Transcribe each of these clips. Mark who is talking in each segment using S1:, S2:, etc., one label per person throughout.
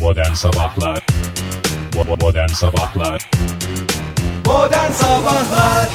S1: Modern Sabahlar Bo- Modern Sabahlar
S2: Modern Sabahlar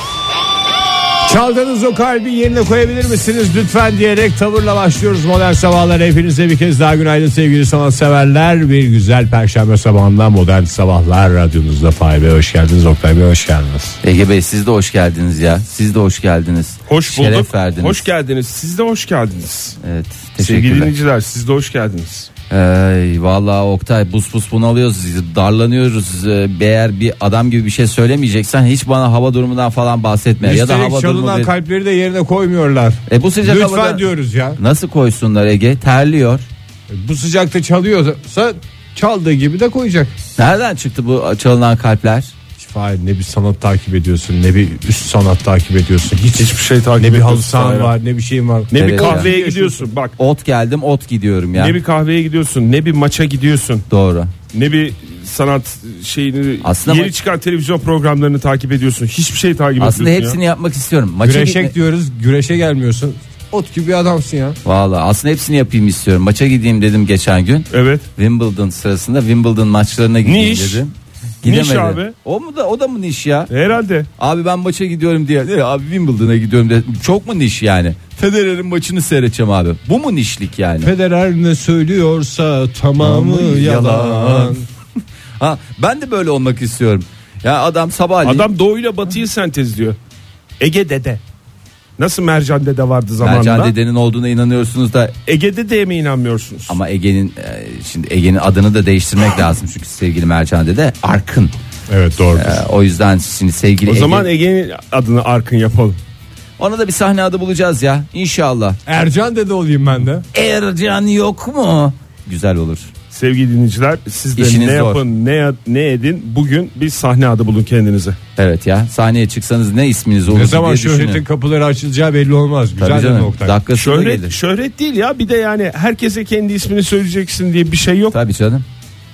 S3: Çaldığınız o kalbi yerine koyabilir misiniz lütfen diyerek tavırla başlıyoruz modern sabahlar. Hepinize bir kez daha günaydın sevgili sanatseverler. Bir güzel perşembe sabahında modern sabahlar radyonuzda Fahir Bey hoş geldiniz. Oktay Bey hoş geldiniz.
S4: Ege Bey siz de hoş geldiniz ya. Siz de hoş geldiniz.
S5: Hoş bulduk.
S4: Şeref verdiniz.
S5: Hoş geldiniz. Siz de hoş geldiniz.
S4: evet,
S5: Sevgili
S4: teşekkürler.
S5: dinleyiciler siz de hoş geldiniz.
S4: Ey, vallahi Oktay bus bus bunalıyoruz. Darlanıyoruz. Ee, Eğer bir adam gibi bir şey söylemeyeceksen hiç bana hava durumundan falan bahsetme. ya da hava
S3: Üstelik
S4: durumu
S3: çalınan
S4: değil.
S3: kalpleri de yerine koymuyorlar.
S4: E, bu sıcak
S3: lütfen
S4: havada
S3: diyoruz ya.
S4: nasıl koysunlar Ege? Terliyor.
S3: Bu sıcakta çalıyorsa çaldığı gibi de koyacak.
S4: Nereden çıktı bu çalınan kalpler?
S3: Fahir ne bir sanat takip ediyorsun ne bir üst sanat takip ediyorsun. Hiç,
S5: Hiçbir şey takip
S3: ne bir halı
S5: etmiyorsun
S3: sahan
S5: Fahir.
S3: var ne bir şeyin var.
S5: Ne bir
S4: Evet ya.
S5: kahveye gidiyorsun bak.
S4: Ot geldim ot gidiyorum ya.
S5: Ne bir kahveye gidiyorsun, ne bir maça gidiyorsun,
S4: Doğru.
S5: ne bir sanat şeyini
S4: Aslında
S5: yeni
S4: ma-
S5: çıkan televizyon programlarını takip ediyorsun. Hiçbir şey takip
S4: Aslında
S5: etmiyorsun.
S4: hepsini yapmak istiyorum. Maça
S3: Güreşek
S4: gitme-
S3: diyoruz güreşe gelmiyorsun. Ot gibi adamsın ya.
S4: Vallahi aslında hepsini yapayım istiyorum. Maça gideyim dedim geçen gün.
S5: ya. Evet.
S4: Wimbledon sırasında Wimbledon maçlarına gideyim
S5: Niş.
S4: dedim.
S5: Niş abi.
S4: O mu da o da mı niş ya?
S5: Herhalde.
S4: Abi ben maça gidiyorum diye. "E, abi Wimbledon'a gidiyorum diye. Çok mu niş yani? Federer'in maçını seyredeceğim abi. Bu mu nişlik yani?
S3: Federer ne söylüyorsa tamamı yalan.
S4: ha ben de böyle olmak istiyorum. Ya adam sabahleyin
S5: Adam doğuyla batıyı sentezliyor. Ege dede. Nasıl Mercan dede vardı zamanında?
S4: Mercan dedenin olduğuna inanıyorsunuz da
S5: Ege dedeye mi inanmıyorsunuz?
S4: ama Ege'nin e, şimdi Ege'nin adını da değiştirmek lazım çünkü sevgili Mercan dede Arkın.
S3: Evet doğru.
S4: E, o yüzden şimdi sevgili
S5: o zaman
S4: Ege,
S5: Ege'nin adını Arkın yapalım.
S4: ona da bir sahne adı bulacağız ya inşallah.
S3: Ercan dede olayım ben de.
S4: Ercan yok mu? Güzel olur.
S5: Sevgili dinleyiciler siz de
S4: İşiniz
S5: ne
S4: zor.
S5: yapın ne ya- ne edin bugün bir sahne adı bulun kendinize.
S4: Evet ya sahneye çıksanız ne isminiz olur
S3: Ne zaman
S4: diye düşünün.
S3: şöhretin kapıları açılacağı belli olmaz.
S4: Tabii
S3: Güzel de
S4: canım,
S3: nokta.
S4: dakikasında
S5: Şöhret,
S4: gelir.
S5: şöhret değil ya bir de yani herkese kendi ismini söyleyeceksin diye bir şey yok.
S4: Tabii canım.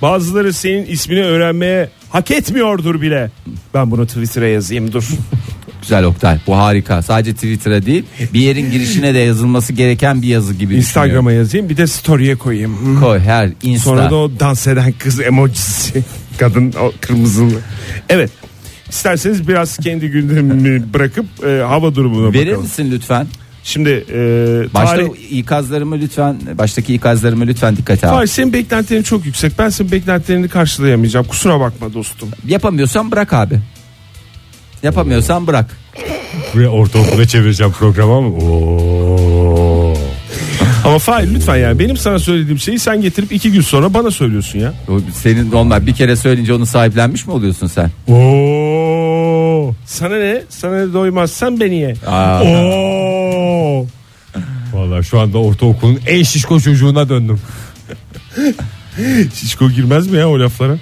S5: Bazıları senin ismini öğrenmeye hak etmiyordur bile. Ben bunu Twitter'a yazayım dur.
S4: Güzel Oktay. Bu harika. Sadece Twitter'a değil bir yerin girişine de yazılması gereken bir yazı gibi
S5: Instagram'a yazayım bir de story'e koyayım. Hmm.
S4: düşünüyorum. Koy her Insta.
S5: Sonra da o dans eden kız emojisi. Kadın o kırmızılı. Evet. İsterseniz biraz kendi gündemimi bırakıp e, hava durumuna
S4: Verir
S5: bakalım.
S4: misin lütfen?
S5: Şimdi e,
S4: Başta
S5: tarih-
S4: ikazlarımı lütfen baştaki ikazlarımı lütfen dikkate al.
S5: Fahir senin beklentilerin çok yüksek. Ben senin beklentilerini karşılayamayacağım. Kusura bakma dostum.
S4: Yapamıyorsan bırak abi. Yapamıyorsan bırak.
S3: Ve ortaokula çevireceğim programı ama. Oo.
S5: Ama Fahir lütfen yani benim sana söylediğim şeyi sen getirip iki gün sonra bana söylüyorsun ya.
S4: O Senin normal bir kere söyleyince onu sahiplenmiş mi oluyorsun sen?
S5: Oo. Sana ne? Sana ne doymazsan beni ye.
S4: Aa,
S3: Oo. Valla şu anda ortaokulun en şişko çocuğuna döndüm.
S5: Şişko girmez mi ya o laflara?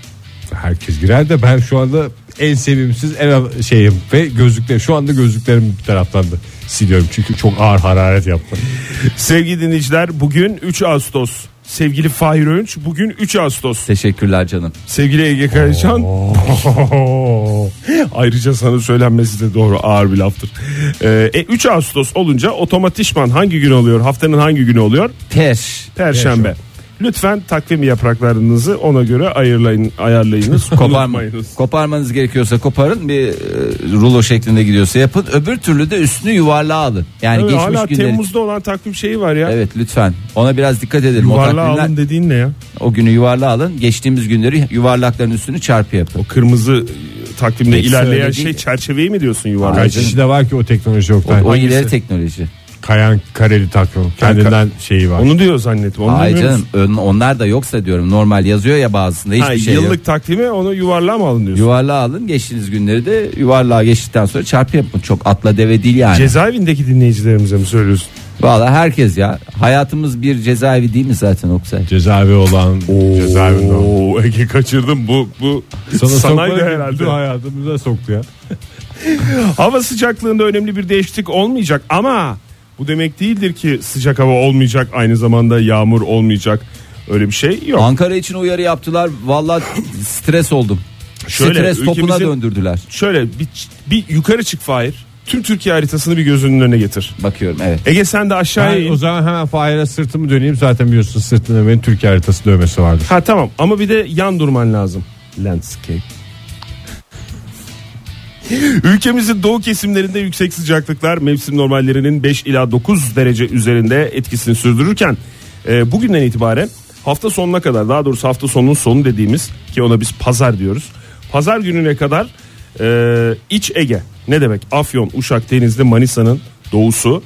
S3: Herkes girer de ben şu anda en sevimsiz en şeyim ve gözlükler şu anda gözlüklerim bir taraftan da siliyorum çünkü çok ağır hararet yaptım.
S5: Sevgili dinleyiciler bugün 3 Ağustos. Sevgili Fahir Öğünç bugün 3 Ağustos.
S4: teşekkürler canım.
S5: Sevgili Ege Kayacan. Ayrıca sana söylenmesi de doğru ağır bir laftır. Ee, e, 3 Ağustos olunca otomatikman hangi gün oluyor? Haftanın hangi günü oluyor?
S4: Ter.
S5: Perşembe. Lütfen takvim yapraklarınızı ona göre ayarlayın, ayarlayınız.
S4: Koparma,
S5: unutmayınız.
S4: koparmanız gerekiyorsa koparın bir e, rulo şeklinde gidiyorsa yapın. Öbür türlü de üstünü yuvarlağa alın. Yani
S5: Tabii
S4: geçmiş
S5: hala
S4: günleri.
S5: Temmuz'da olan takvim şeyi var ya.
S4: Evet lütfen ona biraz dikkat edelim. o,
S5: Yuvarlağı
S4: takvimler-
S5: alın dediğin ne ya?
S4: o günü yuvarlağa alın. Geçtiğimiz günleri yuvarlakların üstünü çarpı yapın.
S5: O kırmızı e, takvimde
S4: Peki,
S5: ilerleyen
S4: öyle
S5: şey
S4: değil.
S5: çerçeveyi mi diyorsun yuvarlak?
S3: Kaç kişi de var ki o teknoloji yok.
S4: O, o ileri teknoloji.
S3: Kayan kareli takım kendinden şeyi var.
S5: Onu diyor zannettim. Onu
S4: Ay
S5: demiyor
S4: canım
S5: musun?
S4: ön- onlar da yoksa diyorum normal yazıyor ya bazısında hiçbir
S5: Ha,
S4: şey
S5: yıllık
S4: yok.
S5: takvime onu yuvarlağa mı alın diyorsun?
S4: Yuvarlağa alın geçtiğiniz günleri de yuvarlağa geçtikten sonra çarpı yapın. Çok atla deve değil yani.
S5: Cezaevindeki dinleyicilerimize mi söylüyorsun?
S4: Vallahi herkes ya. Hayatımız bir cezaevi değil mi zaten Oksay?
S3: Cezaevi olan cezaevinde olan.
S5: Oo, Ege kaçırdım bu bu sanayi de
S3: sokmadı,
S5: herhalde.
S3: bütün Hayatımıza soktu ya.
S5: Hava sıcaklığında önemli bir değişiklik olmayacak ama bu demek değildir ki sıcak hava olmayacak aynı zamanda yağmur olmayacak. Öyle bir şey yok.
S4: Ankara için uyarı yaptılar. Vallahi stres oldum.
S5: Şöyle,
S4: stres topuna
S5: ülkemizin-
S4: döndürdüler.
S5: Şöyle bir, bir yukarı çık Fahir. tüm Türkiye haritasını bir gözünün önüne getir.
S4: Bakıyorum evet.
S5: Ege sen de aşağıya
S3: Ben
S5: in.
S3: o zaman hemen Fahir'e sırtımı döneyim. Zaten biliyorsun sırtında benim Türkiye haritası dövmesi vardır.
S5: Ha tamam ama bir de yan durman lazım. Landscape. Ülkemizin doğu kesimlerinde yüksek sıcaklıklar mevsim normallerinin 5 ila 9 derece üzerinde etkisini sürdürürken e, bugünden itibaren hafta sonuna kadar daha doğrusu hafta sonunun sonu dediğimiz ki ona biz pazar diyoruz. Pazar gününe kadar e, iç Ege ne demek Afyon, Uşak, Denizli, Manisa'nın doğusu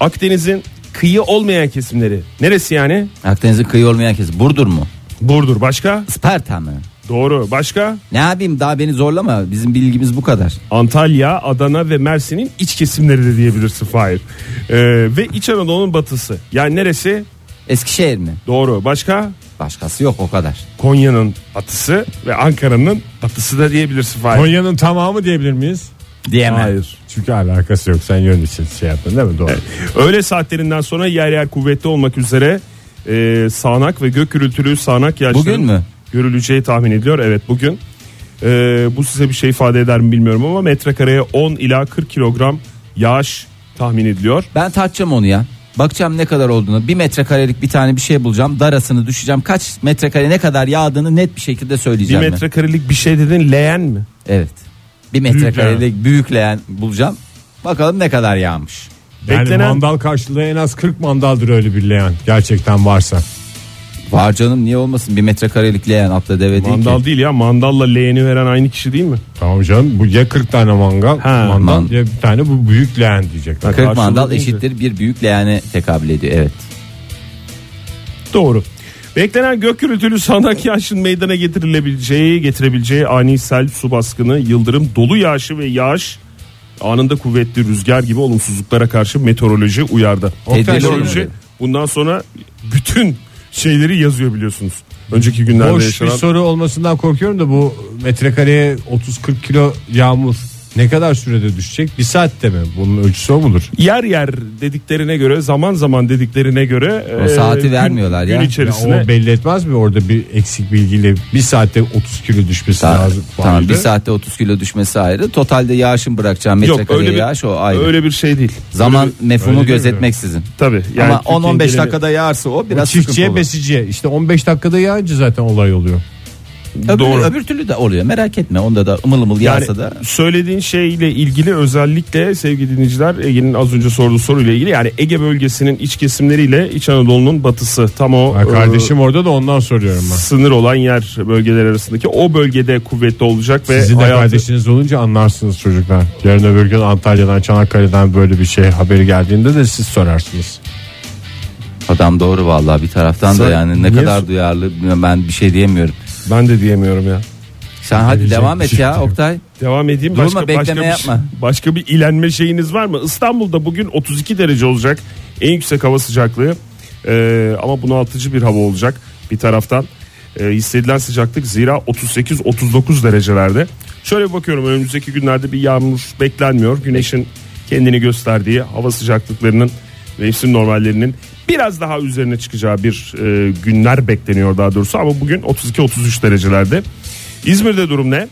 S5: Akdeniz'in kıyı olmayan kesimleri neresi yani?
S4: Akdeniz'in kıyı olmayan kesim. Burdur mu?
S5: Burdur başka?
S4: Sparta mı?
S5: Doğru. Başka?
S4: Ne yapayım daha beni zorlama. Bizim bilgimiz bu kadar.
S5: Antalya, Adana ve Mersin'in iç kesimleri de diyebilirsin Fahir. Ee, ve İç Anadolu'nun batısı. Yani neresi?
S4: Eskişehir mi?
S5: Doğru. Başka?
S4: Başkası yok o kadar.
S5: Konya'nın batısı ve Ankara'nın batısı da diyebilirsin Fahir.
S3: Konya'nın tamamı diyebilir miyiz?
S4: Diyemem.
S3: Çünkü alakası yok. Sen yön için şey yaptın değil mi? Doğru.
S5: Öğle saatlerinden sonra yer yer kuvvetli olmak üzere e, sağanak ve gök gürültülü sağanak yağışların
S4: Bugün mü?
S5: görüleceği tahmin ediliyor. Evet bugün. E, bu size bir şey ifade eder mi bilmiyorum ama metrekareye 10 ila 40 kilogram yağış tahmin ediliyor.
S4: Ben tartacağım onu ya. Bakacağım ne kadar olduğunu. Bir metrekarelik bir tane bir şey bulacağım. Darasını düşeceğim. Kaç metrekare ne kadar yağdığını net bir şekilde
S5: Bir
S4: söyleyeceğim. ben.
S5: metrekarelik bir şey dedin leğen mi?
S4: Evet. Bir metrekarelik büyükleyen bulacağım. Bakalım ne kadar yağmış.
S3: Yani
S5: Beklenen-
S3: mandal karşılığı en az 40 mandaldır öyle bir leğen. Gerçekten varsa.
S4: Var canım niye olmasın bir metrekarelik leğen atla deve değil
S5: Mandal
S4: ki.
S5: değil ya mandalla leğeni veren aynı kişi değil mi?
S3: Tamam canım bu ya 40 tane mangal,
S5: Ha,
S3: mandal
S4: man-
S3: ya bir tane bu büyük leğen diyecekler.
S5: Karşılığı
S4: Kırk mandal
S5: deyince.
S4: eşittir bir büyük leğene tekabül ediyor evet.
S5: Doğru. Beklenen gök gürültülü sağanak yağışın meydana getirilebileceği, getirebileceği ani sel, su baskını, yıldırım, dolu yağışı ve yağış anında kuvvetli rüzgar gibi olumsuzluklara karşı meteoroloji uyardı.
S4: Tedbirli
S5: Meteoroloji
S4: olun.
S5: bundan sonra bütün şeyleri yazıyor biliyorsunuz. Önceki günlerde
S3: Boş bir
S5: yaşanan
S3: soru olmasından korkuyorum da bu metrekareye 30-40 kilo yağmur ne kadar sürede düşecek? Bir saatte mi? Bunun ölçüsü o mudur?
S5: yer yer dediklerine göre zaman zaman dediklerine göre e,
S4: O saati vermiyorlar
S5: gün,
S4: ya.
S5: Gün
S4: Ya
S5: içerisine
S3: Ya o belli etmez mi orada bir eksik bilgiyle bir saatte 30 kilo düşmesi
S4: Tamam,
S3: lazım.
S4: tamam
S3: Fahir'de.
S4: bir saatte 30 kilo düşmesi ayrı. Totalde yağışın bırakacağı metrekareye yağış o ayrı.
S5: öyle bir şey değil.
S4: Zaman mefhumu
S3: öyle bir-
S4: gözetmeksizin.
S5: Tabii.
S4: Ama
S5: Türkiye'nin
S4: 10-15
S5: geneli-
S4: dakikada yağarsa o biraz sıkıntı
S3: Çiftçiye
S4: olur.
S3: besiciye işte 15 dakikada yağınca zaten olay oluyor.
S4: Öbür,
S5: Doğru.
S4: öbür türlü de oluyor merak etme onda da ımıl ımıl
S5: Yani
S4: yağsa da.
S5: söylediğin şeyle ilgili özellikle sevgili dinleyiciler Ege'nin az önce sorduğu soruyla ilgili yani Ege bölgesinin iç kesimleriyle İç Anadolu'nun batısı tam o
S3: Ha,
S5: kardeşim
S3: kardeşim orada da ondan soruyorum ben.
S5: sınır olan yer bölgeler arasındaki o bölgede kuvvetli olacak ve
S3: Sizin de
S5: hayatı-
S3: kardeşiniz olunca anlarsınız çocuklar. Yarın öbür gün Antalya'dan Çanakkale'den böyle bir şey haberi geldiğinde de siz sorarsınız.
S4: Adam doğru vallahi bir taraftan
S5: Sen
S4: da yani ne
S5: niye-
S4: kadar duyarlı bilmiyorum, ben bir şey diyemiyorum.
S5: ben de diyemiyorum ya.
S4: Sen hadi
S3: Diyecek
S4: devam
S3: bir
S4: et
S3: şey
S4: ya
S3: yok.
S4: Oktay.
S5: Devam edeyim.
S4: Durma,
S5: başka
S4: bekleme
S5: bir, şey-
S4: yapma.
S5: Başka bir ilenme şeyiniz var mı? İstanbul'da bugün 32 derece olacak. En yüksek hava sıcaklığı. Ee, ama bunaltıcı bir hava olacak bir taraftan. Ee, hissedilen sıcaklık zira 38-39 derecelerde. Şöyle bir bakıyorum önümüzdeki günlerde bir yağmur beklenmiyor. Güneşin kendini gösterdiği hava sıcaklıklarının mevsim normallerinin biraz daha üzerine çıkacağı bir e, günler bekleniyor daha doğrusu. Ama bugün 32-33 derecelerde. İzmir'de durum ne?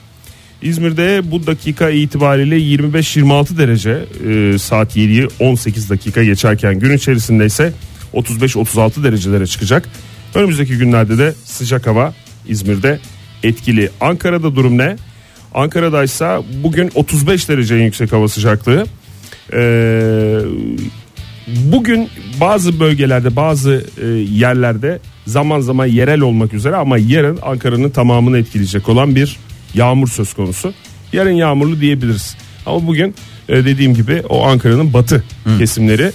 S5: İzmir'de bu dakika itibariyle 25-26 derece e, saat 7'yi 18 dakika geçerken gün içerisinde ise 35-36 derecelere çıkacak. Önümüzdeki günlerde de sıcak hava İzmir'de etkili. Ankara'da durum ne? Ankara'da ise bugün 35 derece en yüksek hava sıcaklığı. E, Bugün bazı bölgelerde bazı e, yerlerde zaman zaman yerel olmak üzere ama yarın Ankara'nın tamamını etkileyecek olan bir yağmur söz konusu. Yarın yağmurlu diyebiliriz. Ama bugün e, dediğim gibi o Ankara'nın batı kesimleri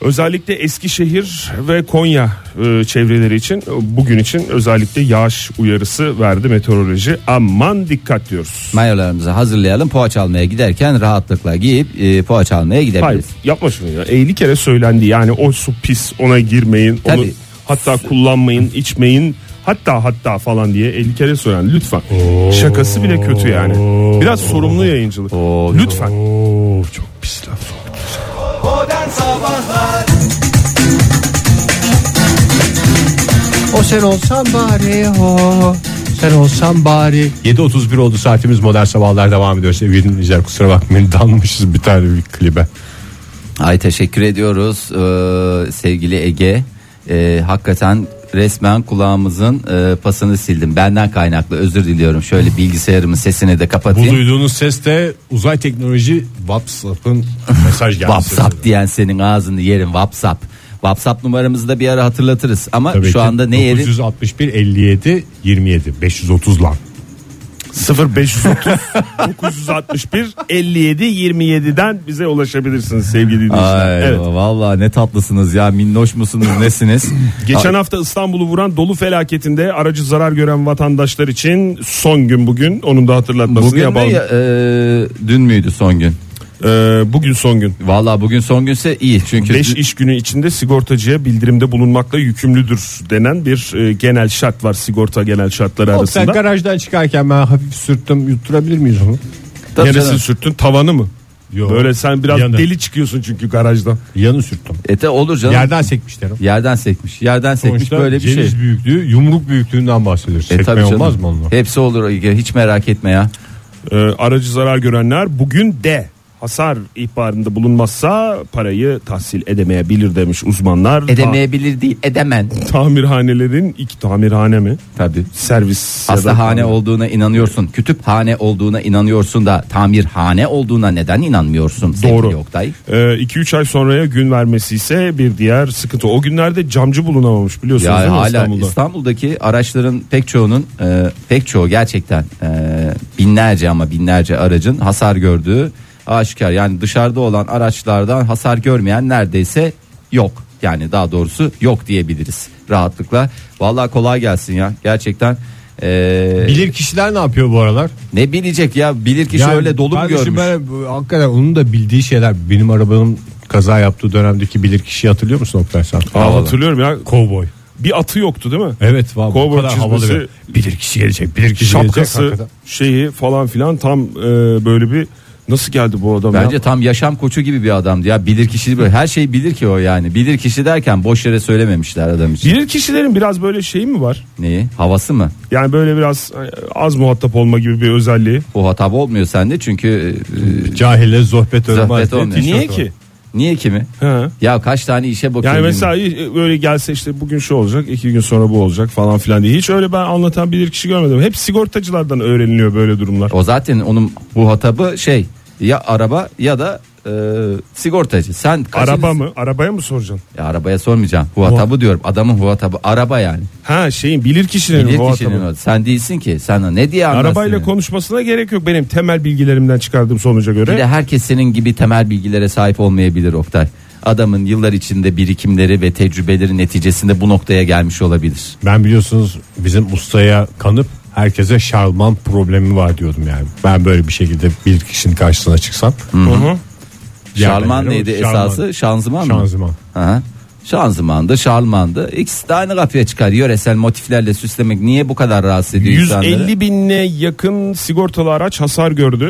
S5: özellikle Eskişehir ve Konya e, çevreleri için e, bugün için özellikle yağış uyarısı verdi meteoroloji. Aman dikkat diyoruz.
S4: Mayolarımızı hazırlayalım poğaça almaya giderken rahatlıkla giyip e, poğaça almaya
S5: Hayır
S4: gidebiliriz.
S5: yapma şunu ya. 50 kere söylendi yani o su pis ona girmeyin. Onu
S4: Tabii.
S5: hatta kullanmayın, içmeyin. Hatta hatta falan diye 50 kere söylendi lütfen. Şakası bile kötü yani. Biraz sorumlu yayıncılık.
S4: Oo.
S5: Lütfen.
S3: Oo çok pis laf.
S2: Modern Sabahlar
S4: O sen olsan bari o
S6: defter olsam bari
S3: 7.31 oldu saatimiz modern sabahlar devam ediyor sevgili dinleyiciler kusura bakmayın dalmışız bir tane bir klibe.
S4: Ay teşekkür ediyoruz ee, sevgili Ege. Ee, hakikaten resmen kulağımızın e, pasını sildim. Benden kaynaklı özür diliyorum. Şöyle bilgisayarımın sesini de
S3: Bu
S4: kapatayım.
S3: duyduğunuz ses de uzay teknoloji WhatsApp'ın mesaj geldi.
S4: WhatsApp diyen senin ağzını yerim WhatsApp. WhatsApp numaramızı da bir ara hatırlatırız ama
S3: Tabii
S4: şu
S3: ki.
S4: anda ne yerin?
S3: 961 57 27 530 lan.
S5: 0530 961 57 27'den bize ulaşabilirsiniz sevgili dinleyiciler.
S4: Ay
S5: Evet.
S4: vallahi ne tatlısınız ya minnoş musunuz nesiniz?
S5: Geçen hafta İstanbul'u vuran dolu felaketinde aracı zarar gören vatandaşlar için son gün bugün onun da hatırlatmasını
S4: Bugün mü
S5: yapalım.
S4: ya- e, dün müydü son gün?
S5: Ee, bugün son gün.
S4: Vallahi bugün son günse iyi çünkü
S5: 5 iş günü içinde sigortacıya bildirimde bulunmakla yükümlüdür denen bir e, genel şart var sigorta genel şartları
S3: Oğlum sen
S5: arasında.
S3: garajdan çıkarken ben hafif sürttüm yutturabilir miyiz onu?
S4: Tabii
S5: Neresi
S4: canım.
S5: sürttün tavanı mı?
S3: Yok.
S5: Böyle sen biraz
S3: Yanı.
S5: deli çıkıyorsun çünkü garajdan.
S3: Yanı sürttüm.
S4: Ete olur canım.
S3: Yerden sekmişlerim.
S4: Yerden sekmiş. Yerden sekmiş
S3: Sonuçta
S4: böyle bir şey.
S3: ceviz büyüklüğü yumruk büyüklüğünden bahsediyoruz.
S4: E, tabii
S3: Sekme
S4: canım.
S3: olmaz mı onunla?
S4: Hepsi olur Ege, hiç merak etme ya.
S5: Ee, aracı zarar görenler bugün de hasar ihbarında bulunmazsa parayı tahsil edemeyebilir demiş uzmanlar. Ta-
S4: Edemeyebilir değil edemen.
S5: tamirhanelerin iki tamirhane mi?
S4: Tabii.
S5: Servis. ya da
S4: Hastahane
S5: tamir-
S4: olduğuna inanıyorsun. Kütüphane olduğuna inanıyorsun da tamirhane olduğuna neden inanmıyorsun? sevgili
S5: Doğru.
S4: Oktay?
S5: 2-3 ay sonraya gün vermesi ise bir diğer sıkıntı. O günlerde camcı bulunamamış biliyorsunuz
S4: Ya
S5: değil mi
S4: hala
S5: İstanbul'da?
S4: İstanbul'daki araçların pek çoğunun e, pek çoğu gerçekten e, binlerce ama binlerce aracın hasar gördüğü aşikar. Yani dışarıda olan araçlardan hasar görmeyen neredeyse yok. Yani daha doğrusu yok diyebiliriz rahatlıkla. Vallahi kolay gelsin ya gerçekten. e,
S3: Bilir kişiler ne yapıyor bu aralar?
S4: ne bilecek ya bilir kişi
S3: Yani
S4: öyle dolu mu
S3: kardeşim
S4: görmüş?
S3: Ben, bu- hakikaten onun da bildiği şeyler. Benim arabanın kaza yaptığı dönemdeki bilir kişi hatırlıyor musun Oktay sen?
S5: Aa, hatırlıyorum ya.
S3: Cowboy.
S5: Bir atı yoktu değil mi?
S3: Evet vallahi bu
S5: Cowboy
S3: kadar havalı
S5: çizmesi-
S3: bir bilir kişi gelecek. Bilir
S4: şey
S3: kişi gelecek.
S5: Şapkası
S3: hakikaten.
S5: şeyi falan filan tam e, böyle bir nasıl geldi bu adam
S4: Bence
S5: ya?
S4: tam yaşam koçu gibi bir adamdı ya bilir kişi böyle her şeyi bilir ki o yani bilir kişi derken boş yere söylememişler adam için.
S5: Bilir kişilerin biraz böyle şeyi mi var?
S4: Neyi havası mı?
S5: Yani böyle biraz e, az muhatap olma gibi bir özelliği.
S4: O hata olmuyor sende çünkü e,
S3: Cahille zohbet
S4: Zohbet
S3: olmaz. diye
S4: olmuyor.
S3: tişört
S5: Niye
S3: var.
S5: ki?
S4: niye kimi?
S5: He.
S4: Ya kaç tane işe bakıyorum.
S5: Yani mesela e, böyle gelse işte bugün şu olacak iki gün sonra bu olacak falan filan diye. Hiç öyle ben anlatan bilir kişi görmedim. Hep sigortacılardan öğreniliyor böyle durumlar.
S4: O zaten onun bu hatabı şey ya araba ya da e, sigortacı. Sen kaçıncı-
S5: Araba mı? Arabaya mı soracaksın?
S4: Ya arabaya sormayacağım. Huhatabı diyorum. Adamın huhatabı araba yani.
S5: Ha şeyin bilir kişilerin
S4: Bilir
S5: o
S4: kişinin
S5: adamın.
S4: o. Sen değilsin ki. Sen ne diye anlarsın?
S5: Arabayla
S4: yani?
S5: konuşmasına gerek yok benim temel bilgilerimden çıkardığım sonuca
S4: Bir de
S5: göre.
S4: herkes senin gibi temel bilgilere sahip olmayabilir Oktay. Adamın yıllar içinde birikimleri ve tecrübeleri neticesinde bu noktaya gelmiş olabilir.
S3: Ben biliyorsunuz bizim ustaya kanıp herkese şarlman problemi var diyordum yani. Ben böyle bir şekilde bir kişinin karşısına çıksam.
S5: Hı hı.
S4: Şarman
S3: Yani,
S4: neydi
S3: şarman.
S4: esası? Şanzıman mı?
S3: Şanzıman.
S4: Aha. Şanzımandı, şarlmandı. İkisi de aynı kafaya çıkar. Yöresel motiflerle süslemek niye bu kadar rahatsız ediyor insanları?
S5: 150 bine yakın sigortalı araç hasar gördü.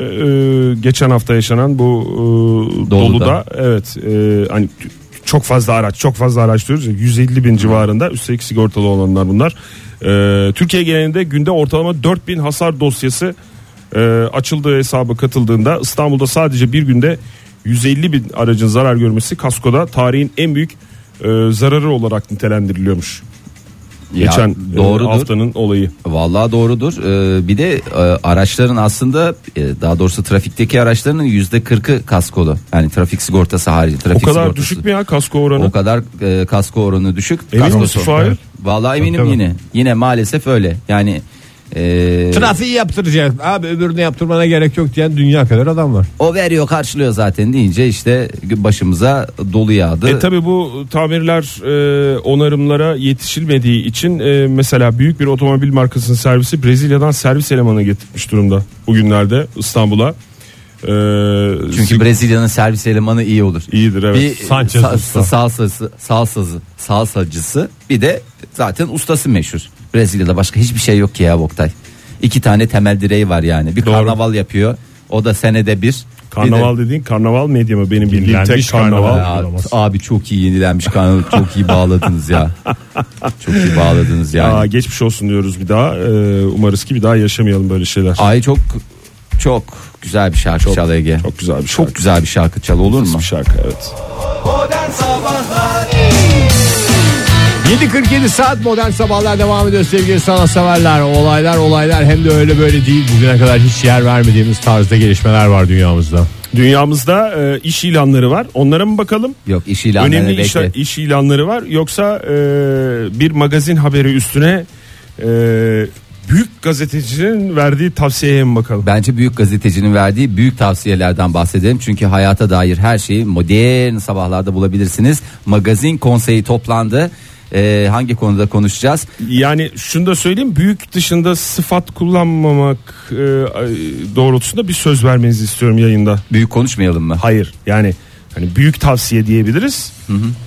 S5: Ee, geçen hafta yaşanan bu e,
S4: Doluda.
S5: doluda. Evet e, hani t- çok fazla araç çok fazla araç diyoruz ya 150 bin civarında üstelik sigortalı olanlar bunlar. Ee, Türkiye genelinde günde ortalama 4000 hasar dosyası e, açıldığı hesabı katıldığında İstanbul'da sadece bir günde 150 bin aracın zarar görmesi kaskoda tarihin en büyük e, zararı olarak nitelendiriliyormuş.
S4: Ya,
S5: Geçen e,
S4: doğrudur.
S5: haftanın olayı.
S4: Vallahi doğrudur. Ee, bir de e, araçların aslında e, daha doğrusu trafikteki araçların yüzde %40'ı kaskolu. Yani trafik sigortası harici.
S5: O
S4: Trafik
S5: kadar
S4: sigortası.
S5: düşük mü ya kasko oranı?
S4: O kadar e, kasko oranı düşük.
S5: Emin
S4: Kasko
S5: misin
S4: sorunu.
S5: Fahir?
S4: Vallahi eminim
S3: Tabii.
S4: yine. Yine maalesef öyle. Yani e,
S3: Trafiği yaptıracak. Abi öbürünü yaptırmana gerek yok diyen dünya kadar adam var.
S4: o veriyor karşılıyor zaten deyince işte başımıza dolu yağdı.
S5: E tabi bu tamirler e, onarımlara yetişilmediği için e, mesela büyük bir otomobil markasının servisi Brezilya'dan servis elemanı getirmiş durumda bugünlerde İstanbul'a. E,
S4: Çünkü
S5: sig-
S4: Brezilya'nın servis elemanı iyi olur.
S5: iyidir evet.
S4: bir
S3: Sanchez
S4: sa-
S3: usta.
S4: salsası, salsası, salsacısı bir de zaten ustası meşhur. Brezilya'da başka hiçbir şey yok ki ya Oktay. İki tane temel direği var yani. Bir karnaval yapıyor. O da senede bir.
S5: Karnaval dediğin karnaval medya mı benim bildiğim tek
S3: Yenilenmiş
S5: karnaval.
S3: karnaval.
S4: Ya,
S3: Olamaz.
S4: abi çok iyi yenilenmiş kanalı çok iyi bağladınız ya. Çok iyi bağladınız yani.
S5: Aa, geçmiş olsun diyoruz bir daha. Ee, umarız ki bir daha yaşamayalım böyle şeyler.
S4: Ay çok çok güzel bir şarkı çal Ege.
S5: Çok güzel bir şarkı.
S4: Çok güzel bir şarkı çal olur mu?
S5: bir şarkı evet.
S2: Modern Sabahlar
S3: 7.47 saat modern sabahlar devam ediyor sevgili sanatseverler. Olaylar olaylar hem de öyle böyle değil. Bugüne kadar hiç yer vermediğimiz tarzda gelişmeler var dünyamızda.
S5: Dünyamızda e, iş ilanları var. Onlara mı bakalım?
S4: Yok iş ilanlarını
S5: Önemli iş,
S4: bekle.
S5: iş ilanları var. Yoksa e, bir magazin haberi üstüne e, büyük gazetecinin verdiği tavsiyeye mi bakalım?
S4: Bence büyük gazetecinin verdiği büyük tavsiyelerden bahsedelim. Çünkü hayata dair her şeyi modern sabahlarda bulabilirsiniz. Magazin konseyi toplandı. Ee, hangi konuda konuşacağız?
S5: Yani şunu da söyleyeyim büyük dışında sıfat kullanmamak e, doğrultusunda bir söz vermenizi istiyorum yayında.
S4: Büyük konuşmayalım mı?
S5: Hayır yani hani büyük tavsiye diyebiliriz.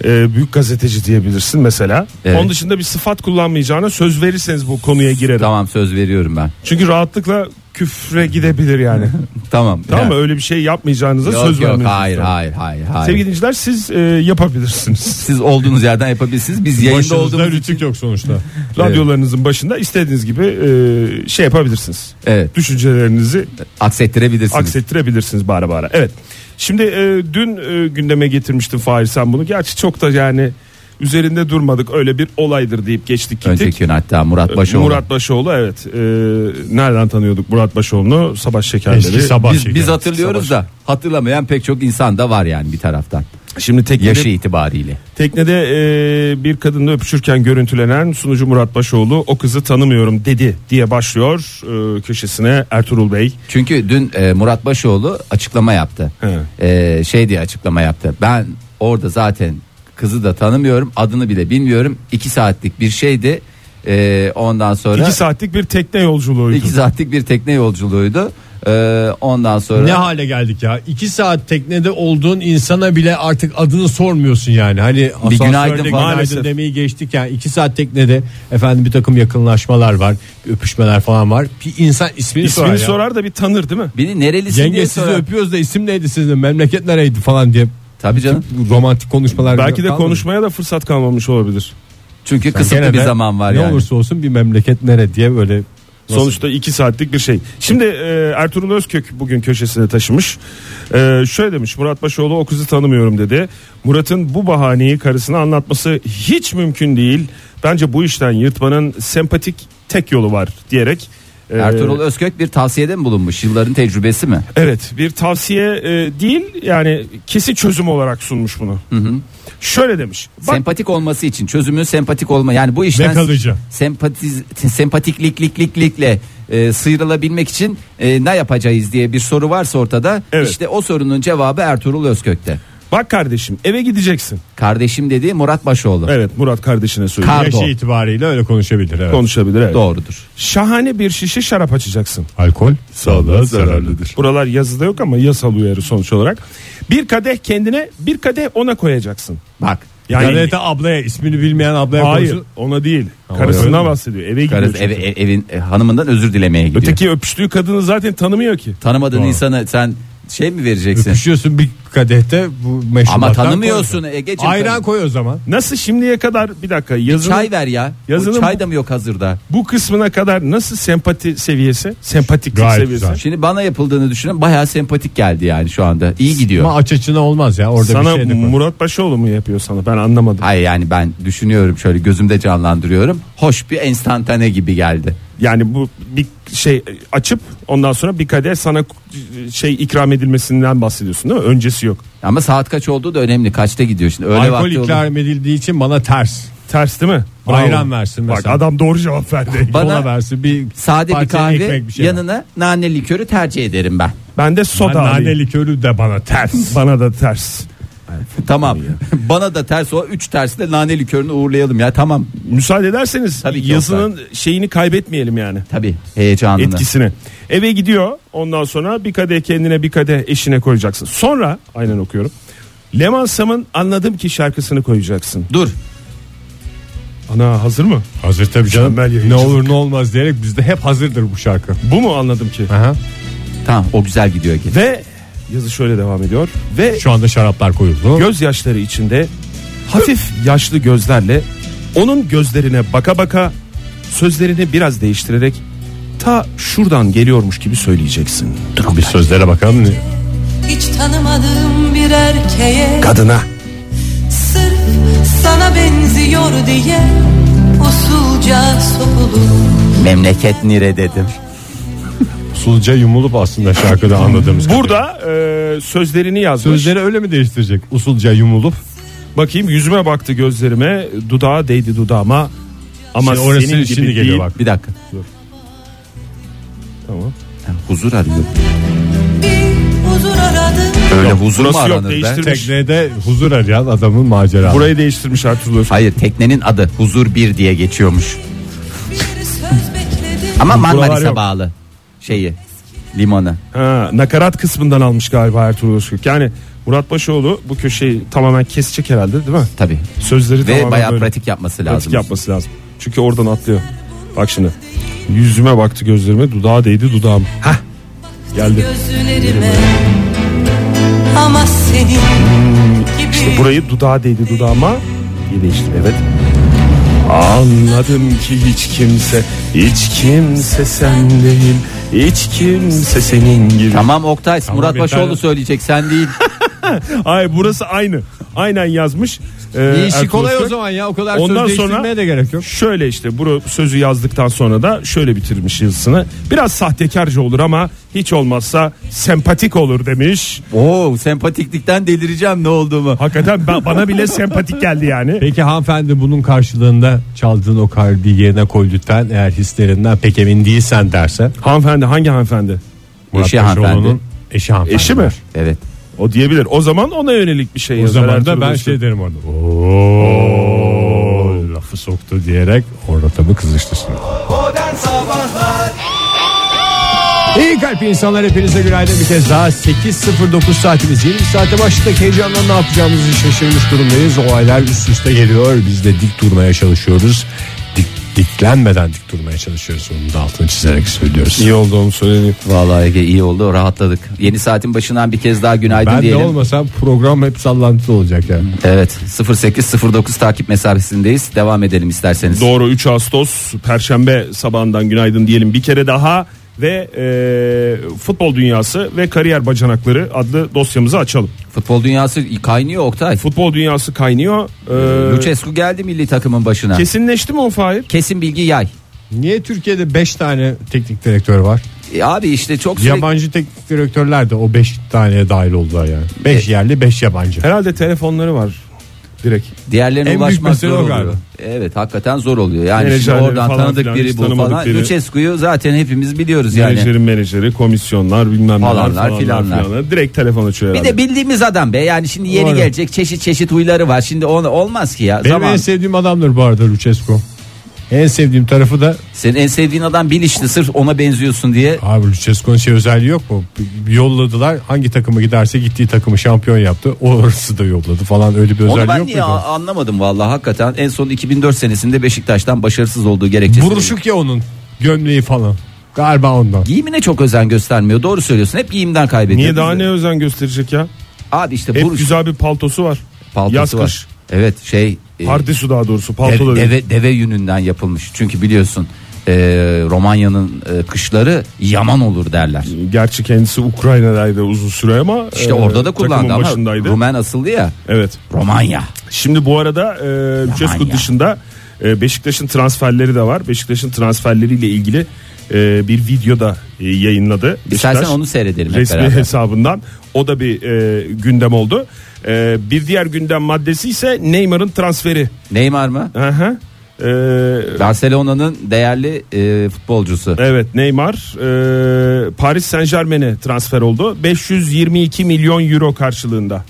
S5: Ee, büyük gazeteci diyebilirsin mesela.
S4: Evet.
S5: Onun dışında bir sıfat kullanmayacağına söz verirseniz bu konuya girerim.
S4: Tamam söz veriyorum ben.
S5: Çünkü rahatlıkla küfre gidebilir yani.
S4: Tamam.
S5: tamam mı?
S4: Ya.
S5: Öyle bir şey yapmayacağınıza
S4: Yok,
S5: söz
S4: yok,
S5: vermiyorsunuz.
S4: hayır, hayır hayır hayır.
S5: Sevgili dinleyiciler siz e, yapabilirsiniz.
S4: siz olduğunuz yerden yapabilirsiniz. Biz yayında
S3: Başınızda
S4: olduğumuz
S3: rütük yok sonuçta.
S5: Radyolarınızın başında istediğiniz gibi e, şey yapabilirsiniz.
S4: Evet.
S5: Düşüncelerinizi
S4: aksettirebilirsiniz.
S5: aksettirebilirsiniz bara bara. Evet. Şimdi e, dün e, gündeme getirmiştim Fahir sen bunu. Gerçi çok da yani üzerinde durmadık. Öyle bir olaydır deyip geçtik gittik.
S4: Önceki gün hatta Murat Başoğlu.
S5: Ee, Murat Başoğlu evet. E, nereden tanıyorduk Murat Başoğlu'nu? Sabah şekerleri.
S3: Eski sabah
S4: biz,
S3: şekeri.
S4: biz hatırlıyoruz da hatırlamayan pek çok insan da var yani bir taraftan.
S5: Şimdi teknede,
S4: Yaşı itibariyle.
S5: teknede e, bir kadınla öpüşürken görüntülenen sunucu Murat Başoğlu o kızı tanımıyorum dedi diye başlıyor e, köşesine Ertuğrul Bey.
S4: Çünkü dün e, Murat Başoğlu açıklama yaptı. E, şey diye açıklama yaptı. Ben orada zaten kızı da tanımıyorum, adını bile bilmiyorum. İki saatlik bir şeydi. E, ondan sonra
S5: İki saatlik bir tekne yolculuğuydu.
S4: iki saatlik bir tekne yolculuğuydu. E, ondan sonra
S3: Ne hale geldik ya? İki saat teknede olduğun insana bile artık adını sormuyorsun yani. Hani asansörde
S4: günaydın falan.
S5: Maalesef.
S3: günaydın demeyi geçtik yani. iki saat teknede efendim bir takım yakınlaşmalar var. Öpüşmeler falan var. Bir insan ismini, sorar,
S5: İsmini
S3: ya.
S5: sorar da bir tanır değil mi?
S4: beni nerelisin
S3: Yenge
S4: diye
S3: sizi
S4: sorar.
S3: öpüyoruz da isim neydi sizin memleket nereydi falan diye.
S4: Tabii canım.
S3: Bu Romantik konuşmalar.
S5: Belki de
S3: kalmadı.
S5: konuşmaya da fırsat kalmamış olabilir.
S4: Çünkü
S3: Gene
S4: kısıtlı bir
S3: de
S4: zaman var
S3: ne
S4: yani.
S3: olursa olsun bir memleket nere diye böyle
S5: Nasıl? Sonuçta iki saatlik bir şey. Şimdi e, Ertuğrul Özkök bugün köşesine taşımış. E, şöyle demiş Murat Başoğlu o kızı tanımıyorum dedi. Murat'ın bu bahaneyi karısına anlatması hiç mümkün değil. Bence bu işten yırtmanın sempatik tek yolu var diyerek. e,
S4: Ertuğrul Özkök bir tavsiyede mi bulunmuş? Yılların tecrübesi mi?
S5: Evet bir tavsiye e, değil yani kesi çözüm olarak sunmuş bunu. Şöyle demiş. Bak
S4: Sempatik olması için çözümün sempatik olma yani bu işten
S3: Ve kalıcı.
S4: sempatiz sempatikliklikliklikle e, sıyrılabilmek için e, ne yapacağız diye bir soru varsa ortada
S5: Evet.
S4: işte o sorunun cevabı Ertuğrul Özkök'te.
S5: bak kardeşim eve gideceksin.
S4: Kardeşim dediği Murat Başoğlu.
S5: Evet Murat kardeşine söylüyor.
S4: Kar-
S3: yaşı
S4: Pardon.
S3: itibariyle öyle konuşabilir. Evet.
S5: Konuşabilir evet.
S4: Doğrudur.
S5: Şahane bir şişe şarap açacaksın.
S3: Alkol sağlığa zararlıdır.
S5: Buralar yazıda yok ama yasal uyarı sonuç olarak. Bir kadeh kendine bir kadeh ona koyacaksın.
S4: Bak
S5: Yani-
S3: Galeta ablaya ismini bilmeyen ablaya
S5: Hayır
S3: konuşun.
S5: ona değil.
S3: öyle
S5: Karısından
S3: mi?
S5: bahsediyor. Eve gidiyor.
S4: karız
S5: çünkü.
S4: ev- ev- evin e, hanımından özür dilemeye gidiyor.
S5: Öteki öpüştüğü kadını zaten tanımıyor ki.
S4: Tanımadığın insana sen şey mi vereceksin?
S3: Öpüşüyorsun bir kadehte bu meşrubattan
S4: Ama tanımıyorsun
S3: koy.
S4: Ege'ciğim.
S3: Ayran
S4: Sen-
S3: koy o zaman.
S5: Nasıl şimdiye kadar bir dakika yazının
S4: Çay ver ya. O
S5: Yazının-
S4: Çay da mı yok hazırda?
S5: bu kısmına kadar nasıl sempati seviyesi? Sempatiklik
S3: Gayet
S5: seviyesi.
S3: güzel.
S4: Şimdi bana yapıldığını düşünün bayağı sempatik geldi yani şu anda. İyi gidiyor.
S3: Ama aç açına olmaz ya orada
S5: Sana
S3: bir şey de koy.
S5: Murat Başoğlu mu yapıyor sana? Ben anlamadım.
S4: Hayır yani ben düşünüyorum şöyle gözümde canlandırıyorum. Hoş bir enstantane gibi geldi.
S5: Yani bu bir şey açıp ondan sonra bir kadeh sana şey ikram edilmesinden bahsediyorsun değil mi? Öncesi yok.
S4: Ama saat kaç olduğu da önemli. Kaçta gidiyor şimdi? Öyle
S3: Alkol
S4: vakti olur.
S3: ikram edildiği için bana ters.
S5: Ters değil mi?
S3: Ayran versin
S5: Bak
S3: mesela.
S5: adam doğru cevap verdi.
S4: Bana
S3: Kola versin bir
S4: Sade bir
S3: parça
S4: kahve
S3: ekmek bir şey ver.
S4: yanına nane likörü tercih ederim ben.
S5: Ben de soda
S3: Ben nane
S5: alayım.
S3: likörü de bana ters.
S5: Bana da ters.
S4: Tamam. Bana da ters o 3 tersle nane likörünü uğurlayalım ya tamam.
S5: Müsaade ederseniz
S4: Tabii ki
S5: yazının şeyini kaybetmeyelim yani.
S4: Tabii heyecanını.
S5: Etkisini. Eve gidiyor. Ondan sonra bir kadeh kendine bir kadeh eşine koyacaksın. Sonra aynen okuyorum. Leman Sam'ın Anladım Ki şarkısını koyacaksın.
S4: Dur.
S5: Ana hazır mı?
S3: Hazır tabii canım.
S5: Mükemmel
S3: Ne
S5: yayıncılık.
S3: olur ne olmaz diyerek bizde hep hazırdır bu şarkı.
S5: Bu mu Anladım Ki?
S3: Aha.
S4: Tamam o güzel gidiyor ki.
S5: Ve Yazı şöyle devam ediyor. Ve
S3: Şu anda şaraplar koyuldu.
S5: gözyaşları içinde hafif yaşlı gözlerle onun gözlerine baka baka sözlerini biraz değiştirerek ta şuradan geliyormuş gibi söyleyeceksin.
S3: Bir sözlere bakalım.
S6: Hiç tanımadığım bir erkeğe
S5: Kadına.
S6: Sırf sana benziyor diye Usulca sokulup
S4: Memleket nire dedim.
S3: Sulca yumulup aslında şarkıda anladığımız. kadarıyla.
S5: Burada e, sözlerini yazmış.
S3: sözleri öyle mi değiştirecek? Usulca yumulup.
S5: Bakayım yüzüme baktı gözlerime, dudağa değdi dudağıma. Ama
S3: Şimdi Şey, orası
S5: senin gibi
S3: şimdi geliyor
S5: değil.
S3: bak.
S4: Bir dakika.
S5: Tamam.
S4: Ha, huzur arıyorum.
S6: Bir huzur aradım
S4: Öyle huzur mu
S5: burası yok,
S4: aranır be?
S5: değiştir-
S3: Teknede huzur arayan adamın macerası.
S5: Burayı değiştirmiş Ertuğrul.
S4: Hayır teknenin adı Huzur 1 diye geçiyormuş.
S6: Bir söz bekledim
S4: Ama
S5: Buralar
S4: Marmaris'e
S5: yok.
S4: bağlı şeyi limanı.
S5: Ha, nakarat kısmından almış galiba Ertuğrul Özkök. Yani Murat Başoğlu bu köşeyi tamamen kesecek herhalde değil mi?
S4: Tabii.
S5: Sözleri
S4: Ve
S5: tamamen
S4: bayağı
S5: böyle
S4: pratik yapması lazım.
S5: pratik yapması lazım. Çünkü oradan atlıyor. Bak şimdi. Yüzüme baktı gözlerime dudağa değdi dudağım. Hah geldi.
S6: gözlerime Ama senin gibi
S5: Burayı dudağa değdi dudağıma. İyi değişti evet. Anladım ki hiç kimse, hiç kimse sen değil, hiç kimse senin gibi.
S4: Tamam Oktay Murat
S3: yeter.
S4: Başoğlu söyleyecek sen değil.
S5: Ay burası aynı. Aynen yazmış. Ee,
S3: İyi işi
S5: Ertuğrul
S3: kolay o
S5: Özkök.
S3: zaman ya o kadar
S5: Ondan
S3: söz değiştirmeye
S5: sonra-
S3: de gerek yok.
S5: Şöyle işte bu sözü yazdıktan sonra da şöyle bitirmiş yazısını. Biraz sahtekarca olur ama hiç olmazsa sempatik olur demiş.
S4: Oo sempatiklikten delireceğim ne olduğumu.
S5: Hakikaten ba- bana bile sempatik geldi yani.
S3: Peki hanımefendi bunun karşılığında çaldığın o kalbi yerine koy lütfen eğer hislerinden pek emin değilsen derse.
S5: Hanımefendi hangi hanımefendi?
S3: Murat
S4: Eşi
S3: Paşaoğlu'nun
S4: hanımefendi.
S3: Eşi hanımefendi.
S5: Eşi mi?
S4: Evet.
S5: O diyebilir. O zaman ona yönelik bir şey
S3: O
S5: yazar
S3: zaman da
S5: Ertuğrul
S3: ben
S5: Özkök.
S3: şey derim orada. "Oo, lafı soktu diyerek orada tabi kızıştırsın.
S2: Modern Sabahlar
S3: İyi kalp insanlar hepinize günaydın bir kez daha 8.09 saatimiz yeni bir saate başladık heyecanla ne yapacağımızı şaşırmış durumdayız olaylar üst üste geliyor biz de dik durmaya çalışıyoruz dik, diklenmeden dik durmaya çalışıyoruz onun da altını çizerek söylüyoruz
S5: İyi oldu onu söyleyeyim.
S4: Vallahi Ege iyi oldu rahatladık. Yeni saatin başından bir kez daha günaydın
S3: ben de
S4: diyelim.
S3: olmasam program hep sallantılı olacak yani
S4: Evet 0809 takip mesafesindeyiz. Devam edelim isterseniz.
S5: Doğru 3 Ağustos Perşembe sabahından günaydın diyelim bir kere daha ve e, futbol dünyası ve kariyer bacanakları adlı dosyamızı açalım.
S4: Futbol dünyası kaynıyor Oktay.
S5: Futbol dünyası kaynıyor. E,
S4: Lucescu geldi milli takımın başına. Kesin,
S5: Kesinleşti mi o Fahir?
S4: bilgi yay.
S3: niye Türkiye'de 5 tane teknik direktör var
S4: E abi işte çok sürekli-
S3: yabancı teknik direktörler de o 5 taneye dahil oldular yani 5
S4: E-
S3: yerli 5 yabancı
S5: Herhalde telefonları var direkt.
S4: diğerlerine
S3: En büyük
S4: ulaşmak
S3: mesele
S4: zor
S3: o
S4: oluyor.
S3: galiba.
S4: Evet hakikaten zor oluyor. Yani şimdi
S5: Menajerleri
S4: oradan
S5: falan
S4: tanıdık
S5: filan,
S4: biri
S5: hiç
S4: bu
S5: tanımadık
S4: falan.
S5: biri.
S4: Lucescu'yu zaten hepimiz biliyoruz yani.
S5: Menajerin menajeri, komisyonlar bilmem neler
S4: Falanlar,
S5: falanlar
S4: filanlar.
S5: filanlar. Direkt telefon açıyor
S4: Bir
S5: herhalde.
S4: de bildiğimiz adam be yani şimdi yeni
S3: Doğru.
S4: gelecek çeşit çeşit huyları var. Şimdi on, olmaz ki ya.
S3: Benim
S4: Zaman.
S3: en sevdiğim adamdır bu arada Lucescu. En sevdiğim tarafı da
S4: Senin en sevdiğin adam bil işte sırf ona benziyorsun diye.
S3: abi Lucescu'nun şey özelliği yok mu? Bir Yolladılar hangi takıma giderse gittiği takımı şampiyon yaptı. Orası da yolladı falan öyle bir
S4: Onu
S3: özelliği
S4: ben
S3: yok
S4: niye
S3: mu?
S4: a- anlamadım vallahi hakikaten. En son 2004 senesinde Beşiktaş'tan başarısız olduğu gerekçesiyle.
S3: Buruşuk ya onun gömleği falan. Galiba ondan.
S4: Giyimine çok özen göstermiyor. Doğru söylüyorsun. Hep giyimden kaybediyor.
S5: Niye daha ne özen gösterecek ya?
S4: Abi işte
S5: Hep
S4: buruş
S5: güzel bir paltosu var.
S4: paltosu
S5: Yaz
S4: var.
S5: kış.
S4: Evet şey e,
S5: Pardesu daha doğrusu
S4: deve,
S5: paltoları.
S4: deve, deve yününden yapılmış. Çünkü biliyorsun e, Romanya'nın e, kışları yaman olur derler.
S5: Gerçi kendisi Ukrayna'daydı uzun süre ama
S4: İşte
S5: e,
S4: orada da
S5: takımın
S4: kullandı ama
S5: başındaydı.
S4: Rumen asıllı ya.
S5: Evet.
S4: Romanya.
S5: Şimdi bu arada e, Lucescu
S4: ya.
S5: dışında e, Beşiktaş'ın transferleri de var. Beşiktaş'ın transferleriyle ilgili e, bir video da e, yayınladı.
S4: İstersen
S5: Beşiktaş.
S4: onu seyredelim hep
S5: resmi
S4: beraber.
S5: hesabından. O da bir e, gündem oldu. E, bir diğer gündem maddesi ise Neymar'ın transferi.
S4: Neymar mı?
S5: Hı hı. E,
S4: Barcelona'nın değerli e, futbolcusu.
S5: evet Neymar e, Paris Saint Germain'e transfer oldu. 522 milyon euro karşılığında.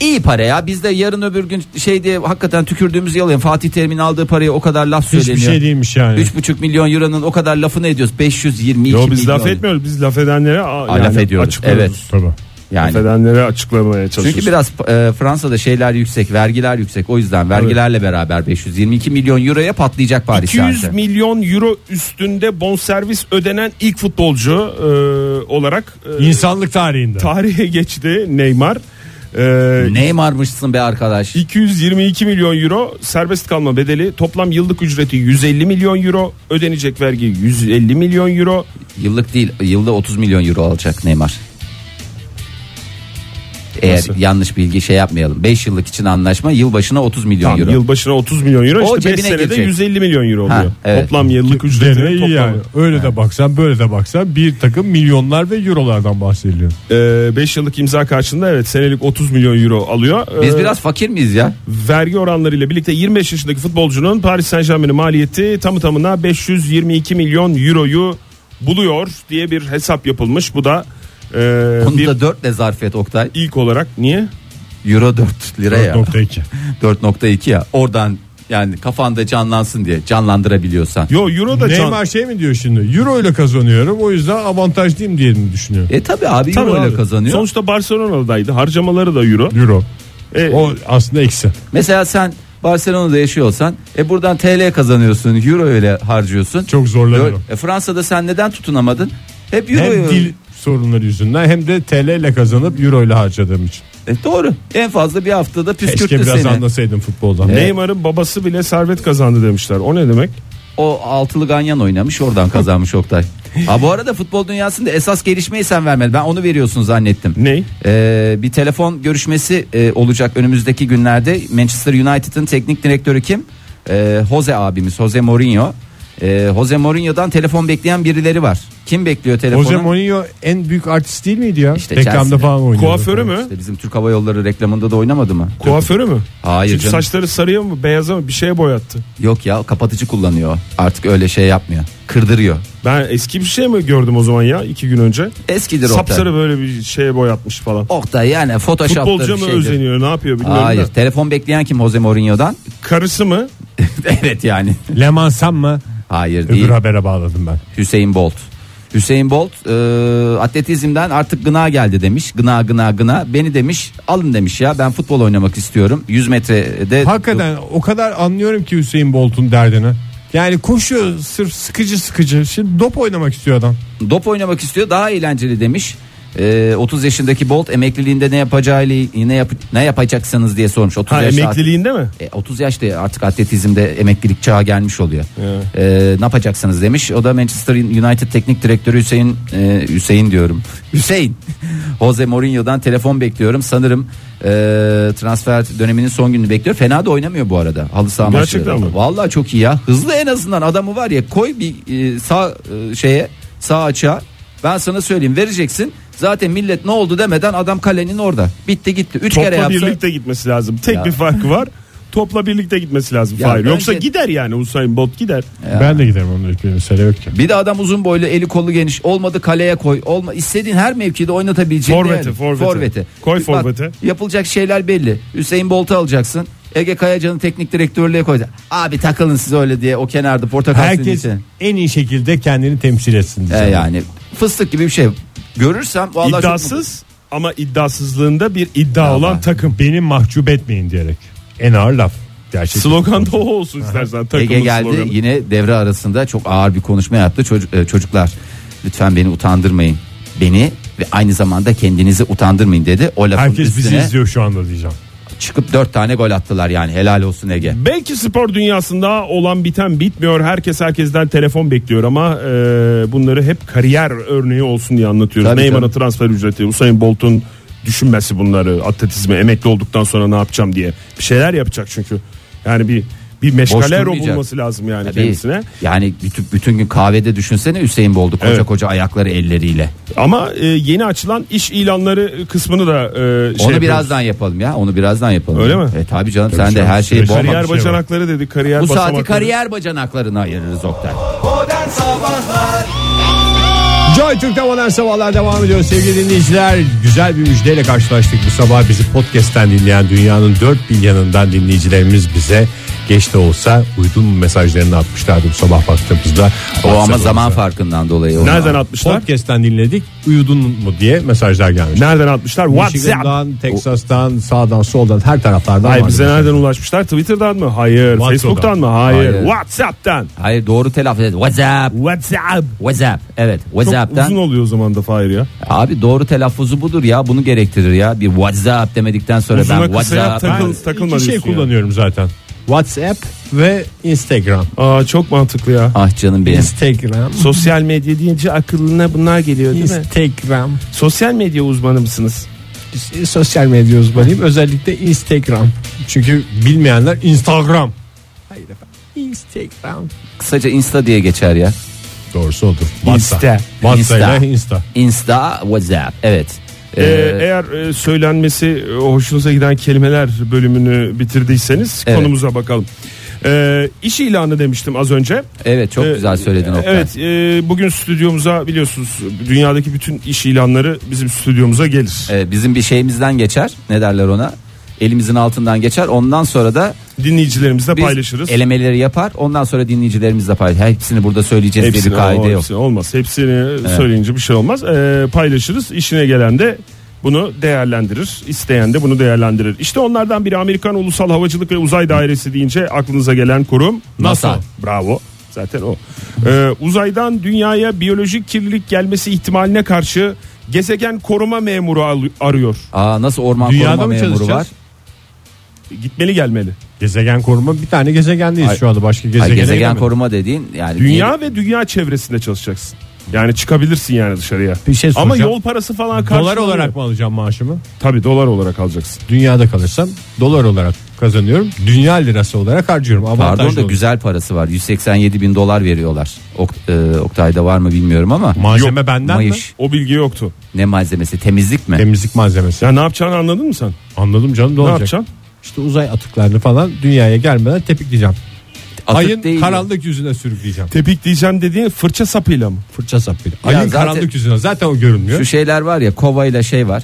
S4: İyi para ya. Biz de yarın öbür gün şey diye hakikaten tükürdüğümüz yalan. Fatih Terim'in aldığı paraya o kadar laf
S3: Hiçbir
S4: söyleniyor.
S3: şey değilmiş yani.
S4: 3,5 milyon euronun o kadar lafını ediyoruz. 522
S5: Yo, biz
S4: milyon.
S5: laf etmiyoruz. Biz laf edenlere a,
S4: Ha, laf ediyoruz.
S5: açıklıyoruz.
S4: Evet.
S3: Tabii.
S4: Yani
S5: Affedenlere açıklamaya çalışıyorsun.
S4: çünkü biraz e, Fransa'da şeyler yüksek, vergiler yüksek. O yüzden vergilerle beraber 522 milyon euroya patlayacak Paris
S5: 200
S4: Saint-Germain.
S5: milyon euro üstünde bonservis ödenen ilk futbolcu e, olarak e,
S3: İnsanlık tarihinde.
S5: tarihe geçti Neymar. E,
S4: Neymar'mışsın be arkadaş.
S5: 222 milyon euro serbest kalma bedeli toplam yıllık ücreti 150 milyon euro ödenecek vergi 150 milyon euro
S4: Yıllık değil, yılda 30 milyon euro alacak Neymar. Eğer
S5: Nasıl?
S4: yanlış bilgi şey yapmayalım. 5 yıllık için anlaşma yılbaşına 30 milyon
S5: Tamam,
S4: euro.
S5: yılbaşına 30 milyon euro
S4: O
S5: işte 5
S4: cebine
S5: senede
S4: girecek.
S5: 150 milyon euro
S4: Ha,
S5: oluyor.
S4: evet.
S5: Toplam yıllık
S3: Gene
S5: ücretini
S3: iyi yani. Öyle de baksan böyle de baksan bir takım milyonlar ve eurolardan bahsediliyor.
S5: 5 Ee, yıllık imza karşılığında evet senelik 30 milyon euro alıyor.
S4: Biz
S5: Ee,
S4: biraz fakir miyiz ya?
S5: vergi oranlarıyla birlikte 25 yaşındaki futbolcunun Paris Saint Germain'in maliyeti tamı tamına 522 milyon euroyu buluyor diye bir hesap yapılmış. Bu da e,
S4: Bunu
S5: bir
S4: da 4 ile zarf et Oktay.
S5: ilk olarak niye?
S4: Euro 4 lira ya.
S3: 4.2.
S4: 4.2 ya. Oradan yani kafanda canlansın diye canlandırabiliyorsan.
S5: Yo euro da can-
S3: Neymar şey mi diyor şimdi? Euro ile kazanıyorum o yüzden avantajlıyım diye mi düşünüyor?
S4: E tabi abi
S5: Tabii
S4: euro ile
S5: abi.
S4: kazanıyor.
S5: Sonuçta Barcelona'daydı. Harcamaları da euro.
S3: Euro.
S5: E,
S3: O aslında eksi.
S4: Mesela sen Barcelona'da yaşıyorsan e buradan TL kazanıyorsun, euro ile harcıyorsun.
S3: Çok zorlanıyorum.
S4: E, Fransa'da sen neden tutunamadın? Hep euro.
S3: Hem dil sorunları yüzünden hem de TL ile kazanıp euro ile harcadığım için.
S4: E, doğru. En fazla bir haftada
S3: Keşke
S4: püskürttü
S3: biraz
S4: seni.
S3: anlasaydım futboldan.
S5: Neymar'ın babası bile servet kazandı demişler. O ne demek?
S4: O altılı ganyan oynamış oradan kazanmış Oktay. Ha bu arada futbol dünyasında esas gelişmeyi sen vermedin. Ben onu veriyorsun zannettim.
S5: Ney?
S4: E, bir telefon görüşmesi e, olacak önümüzdeki günlerde. Manchester United'ın teknik direktörü kim? E, Jose abimiz Jose Mourinho. E, Jose Mourinho'dan telefon bekleyen birileri var. Kim bekliyor telefonu?
S3: Jose Mourinho en büyük artist değil miydi ya?
S4: İşte
S3: Reklamda
S4: Chelsea'de.
S3: falan oynuyordu.
S5: Kuaförü mü?
S4: İşte bizim Türk Hava Yolları reklamında da oynamadı mı?
S5: Kuaförü mü?
S4: Hayır
S5: Çünkü
S4: canım.
S5: saçları sarıya mı beyaza mı bir şeye boyattı.
S4: Yok ya kapatıcı kullanıyor. Artık öyle şey yapmıyor. Kırdırıyor.
S5: Ben eski bir şey mi gördüm o zaman ya iki gün önce?
S4: Eskidir Oktay.
S5: Sapsarı böyle bir şeye boyatmış falan.
S4: Oktay yani Photoshop'ta
S5: Futbolcu
S4: bir
S5: mu
S4: şeydir.
S5: özeniyor ne yapıyor bilmiyorum
S4: Hayır
S5: da.
S4: telefon bekleyen kim Jose Mourinho'dan?
S5: Karısı mı?
S4: evet yani.
S3: Leman Sam mı?
S4: Hayır
S3: Öbür
S4: değil.
S3: habere bağladım ben.
S4: Hüseyin Bolt. Hüseyin Bolt e, atletizmden artık gına geldi demiş. Gına gına gına. Beni demiş alın demiş ya ben futbol oynamak istiyorum. 100 metrede.
S3: Hakikaten o kadar anlıyorum ki Hüseyin Bolt'un derdini. Yani koşuyor sırf sıkıcı sıkıcı. Şimdi dop oynamak istiyor adam.
S4: Dop oynamak istiyor daha eğlenceli demiş. E, 30 yaşındaki Bolt emekliliğinde ne yapacağı ile- ne, yap, ne yapacaksanız diye sormuş. 30
S5: Ha,
S4: yaşta-
S5: emekliliğinde mi?
S4: E, 30 yaşta artık atletizmde emeklilik çağı gelmiş oluyor. E, ne yapacaksınız demiş. O da Manchester United teknik direktörü Hüseyin e, Hüseyin diyorum. Hüseyin. Jose Mourinho'dan telefon bekliyorum. Sanırım e, transfer döneminin son gününü bekliyor. Fena da oynamıyor bu arada. Halı saha
S5: Gerçekten
S4: maçları.
S5: mi?
S4: Vallahi çok iyi ya. Hızlı en azından adamı var ya koy bir e, sağ e, şeye sağ açığa. Ben sana söyleyeyim vereceksin. Zaten millet ne oldu demeden adam kalenin orada. Bitti gitti. Üç kere
S5: Topla
S4: yapsa.
S5: birlikte gitmesi lazım. Tek
S4: Ya.
S5: bir farkı var. Topla birlikte gitmesi lazım.
S4: Ya
S5: Hayır.
S4: bence-
S5: Yoksa gider yani Usain Bolt gider.
S3: Ben de giderim onun hiçbir mesele yok ki.
S4: Bir de adam uzun boylu, eli kolu geniş. Olmadı kaleye koy. Olma istediğin her mevkide oynatabileceğin
S5: Forveti,
S4: değerli.
S5: forveti. Koy
S4: Bak,
S5: forveti.
S4: yapılacak şeyler belli. Hüseyin Bolt'u alacaksın. Ege Kayacan'ın teknik direktörlüğe koy. Abi takılın siz öyle diye o kenarda portakal
S3: Herkes
S4: sinisi.
S3: en iyi şekilde kendini temsil etsin.
S4: E
S3: diyeceğim.
S4: yani fıstık gibi bir şey. Görürsem vallahi çok mutlu-
S5: İddiasız ama iddiasızlığında bir iddia
S3: Ya
S5: olan
S3: olan takım beni mahcup etmeyin diyerek. En ağır laf. Gerçek.
S5: slogan da o olsun istersen takımın
S4: Ege geldi
S5: sloganı.
S4: yine devre arasında çok ağır bir konuşma yaptı. Çocuk- e, çocuklar lütfen beni utandırmayın. Beni ve aynı zamanda kendinizi utandırmayın dedi. O lafın
S3: Herkes bizi
S4: üstüne
S3: izliyor şu anda diyeceğim.
S4: çıkıp dört tane gol attılar yani. Helal olsun Ege.
S5: Belki spor dünyasında olan biten bitmiyor. Herkes herkesten telefon bekliyor ama e, bunları hep kariyer örneği olsun diye anlatıyoruz.
S4: Tabii,
S5: Neymar'a
S4: tabii.
S5: transfer ücreti, Usain Bolt'un düşünmesi bunları. Atletizme emekli olduktan sonra ne yapacağım diye. Bir şeyler yapacak çünkü. Yani bir bir meşgale
S4: durmayacak.
S5: bulması lazım yani
S4: Tabii.
S5: kendisine.
S4: Yani bütün, bütün gün kahvede düşünsene Hüseyin Boldu koca
S5: Evet.
S4: koca ayakları elleriyle.
S5: Ama e, yeni açılan iş ilanları kısmını da e, şey
S4: onu
S5: yapıyoruz.
S4: birazdan yapalım ya. Onu birazdan yapalım.
S5: Öyle mi?
S4: E tabii canım sen de
S3: canım,
S4: her şeyi
S3: sürekli
S4: bomba.
S5: kariyer
S3: şey var.
S5: bacanakları dedi. Kariyer
S4: Bu saati
S5: basamakları.
S4: kariyer bacanaklarına ayırırız Oktay.
S2: Modern Sabahlar
S3: Joy Türk'te modern sabahlar devam ediyor sevgili dinleyiciler. Güzel bir müjdeyle karşılaştık bu sabah. Bizi podcast'ten dinleyen dünyanın dört bir yanından dinleyicilerimiz bize geç de olsa uydun mesajlarını atmışlardı bu sabah baktığımızda.
S4: O ama
S3: WhatsApp'ımıza.
S4: zaman farkından dolayı. onu
S5: Nereden
S4: al-
S5: atmışlar?
S3: Podcast'ten dinledik uyudun mu diye mesajlar gelmiş.
S5: Nereden atmışlar? WhatsApp.
S3: Michigan'dan, Texas'tan, sağdan, soldan her taraflardan.
S5: Hayır
S3: var
S5: bize
S3: mesaj.
S5: nereden ulaşmışlar? Twitter'dan mı? Hayır.
S3: WhatsApp'tan.
S5: Facebook'tan mı? Hayır.
S4: Hayır.
S5: WhatsApp'tan.
S4: Hayır doğru telaffuz et. WhatsApp.
S5: WhatsApp.
S4: WhatsApp. Evet
S5: Çok
S4: WhatsApp'tan.
S5: uzun oluyor o zaman da Fahir ya.
S4: Abi doğru telaffuzu budur ya. Bunu gerektirir ya. Bir WhatsApp demedikten sonra
S5: Uzuna
S4: ben
S5: kısaya
S4: WhatsApp.
S5: takıl-
S4: Ben-
S5: takılma
S3: İki şey
S5: diyorsun ya.
S3: kullanıyorum zaten. WhatsApp ve Instagram.
S5: Aa, çok mantıklı ya.
S4: Ah canım benim.
S3: Instagram.
S5: Sosyal medya deyince aklına bunlar geliyor değil mi?
S3: Instagram.
S5: Sosyal medya uzmanı mısınız?
S3: Sosyal medya uzmanıyım. Özellikle Instagram. Çünkü bilmeyenler Instagram. Hayır efendim. Instagram.
S4: Kısaca Insta diye geçer ya.
S3: Doğrusu odur.
S5: Insta.
S3: Insta.
S4: Insta.
S3: ile Insta.
S4: Insta, WhatsApp. Evet. Ee,
S5: Ee, eğer e, söylenmesi e, hoşunuza giden kelimeler bölümünü bitirdiyseniz
S4: Evet.
S5: konumuza bakalım. Ee, iş ilanı demiştim az önce.
S4: evet çok
S3: e-
S5: Ee,
S4: güzel söyledin Oktay.
S5: Evet e, bugün stüdyomuza biliyorsunuz dünyadaki bütün iş ilanları bizim stüdyomuza gelir.
S4: Ee, bizim bir şeyimizden geçer. Ne derler ona? Elimizin altından geçer. Ondan sonra da
S5: Dinleyicilerimizle
S4: biz
S5: paylaşırız.
S4: elemeleri yapar. Ondan sonra dinleyicilerimizle paylaşır. Hepsini burada söyleyeceğiz diye bir
S5: Hepsini,
S4: kaide
S5: o,
S4: yok.
S5: hepsini olmaz. Hepsini söyleyince bir şey olmaz. Ee, paylaşırız. İşine gelen de bunu değerlendirir. İsteyen de bunu değerlendirir. İşte onlardan biri Amerikan Ulusal Havacılık ve Uzay Dairesi deyince aklınıza gelen kurum
S4: NASA.
S5: Bravo. Zaten o. Ee, uzaydan dünyaya biyolojik kirlilik gelmesi ihtimaline karşı gezegen koruma memuru al- arıyor.
S4: Aa nasıl orman
S3: Dünyada
S4: koruma
S3: mı
S4: memuru var?
S3: çalışacağız?
S5: Gitmeli gelmeli.
S3: Gezegen koruma bir tane gezegendeyiz
S4: Hayır.
S3: şu anda başka
S4: Hayır,
S3: gezegene
S4: gezegen
S3: gidemedik.
S4: koruma dediğin yani
S5: Dünya ve dünya çevresinde çalışacaksın. Yani çıkabilirsin yani dışarıya.
S3: Bir şey
S5: Ama
S3: soracağım.
S5: yol parası falan
S3: Dolar
S5: karşılanıyor.
S3: olarak mı alacağım maaşımı?
S5: Tabii dolar olarak alacaksın.
S3: Dünyada kalırsam dolar olarak kazanıyorum. Dünya lirası olarak harcıyorum. Avantajlı
S4: Pardon da
S3: oluyor.
S4: güzel parası var. 187 bin dolar veriyorlar. Ok, e, Oktay'da var mı bilmiyorum ama.
S3: Malzeme benden mi?
S4: Mayış.
S5: O bilgi yoktu.
S4: Ne malzemesi? Temizlik mi?
S3: Temizlik malzemesi.
S5: Ya ne yapacağını anladın mı sen?
S3: Anladım canım ne,
S5: Ne
S3: olacak?
S5: yapacaksın?
S3: İşte uzay atıklarını falan dünyaya gelmeden tepikleyeceğim.
S4: Atık
S3: Ayın
S4: değil.
S3: karanlık yüzüne sürükleyeceğim.
S5: Tepik diyeceğim dediğin fırça sapıyla mı?
S3: Fırça sapıyla.
S4: Ya
S3: Ayın
S4: zaten-
S3: karanlık yüzüne zaten o görünmüyor.
S4: Şu şeyler var ya kovayla şey var.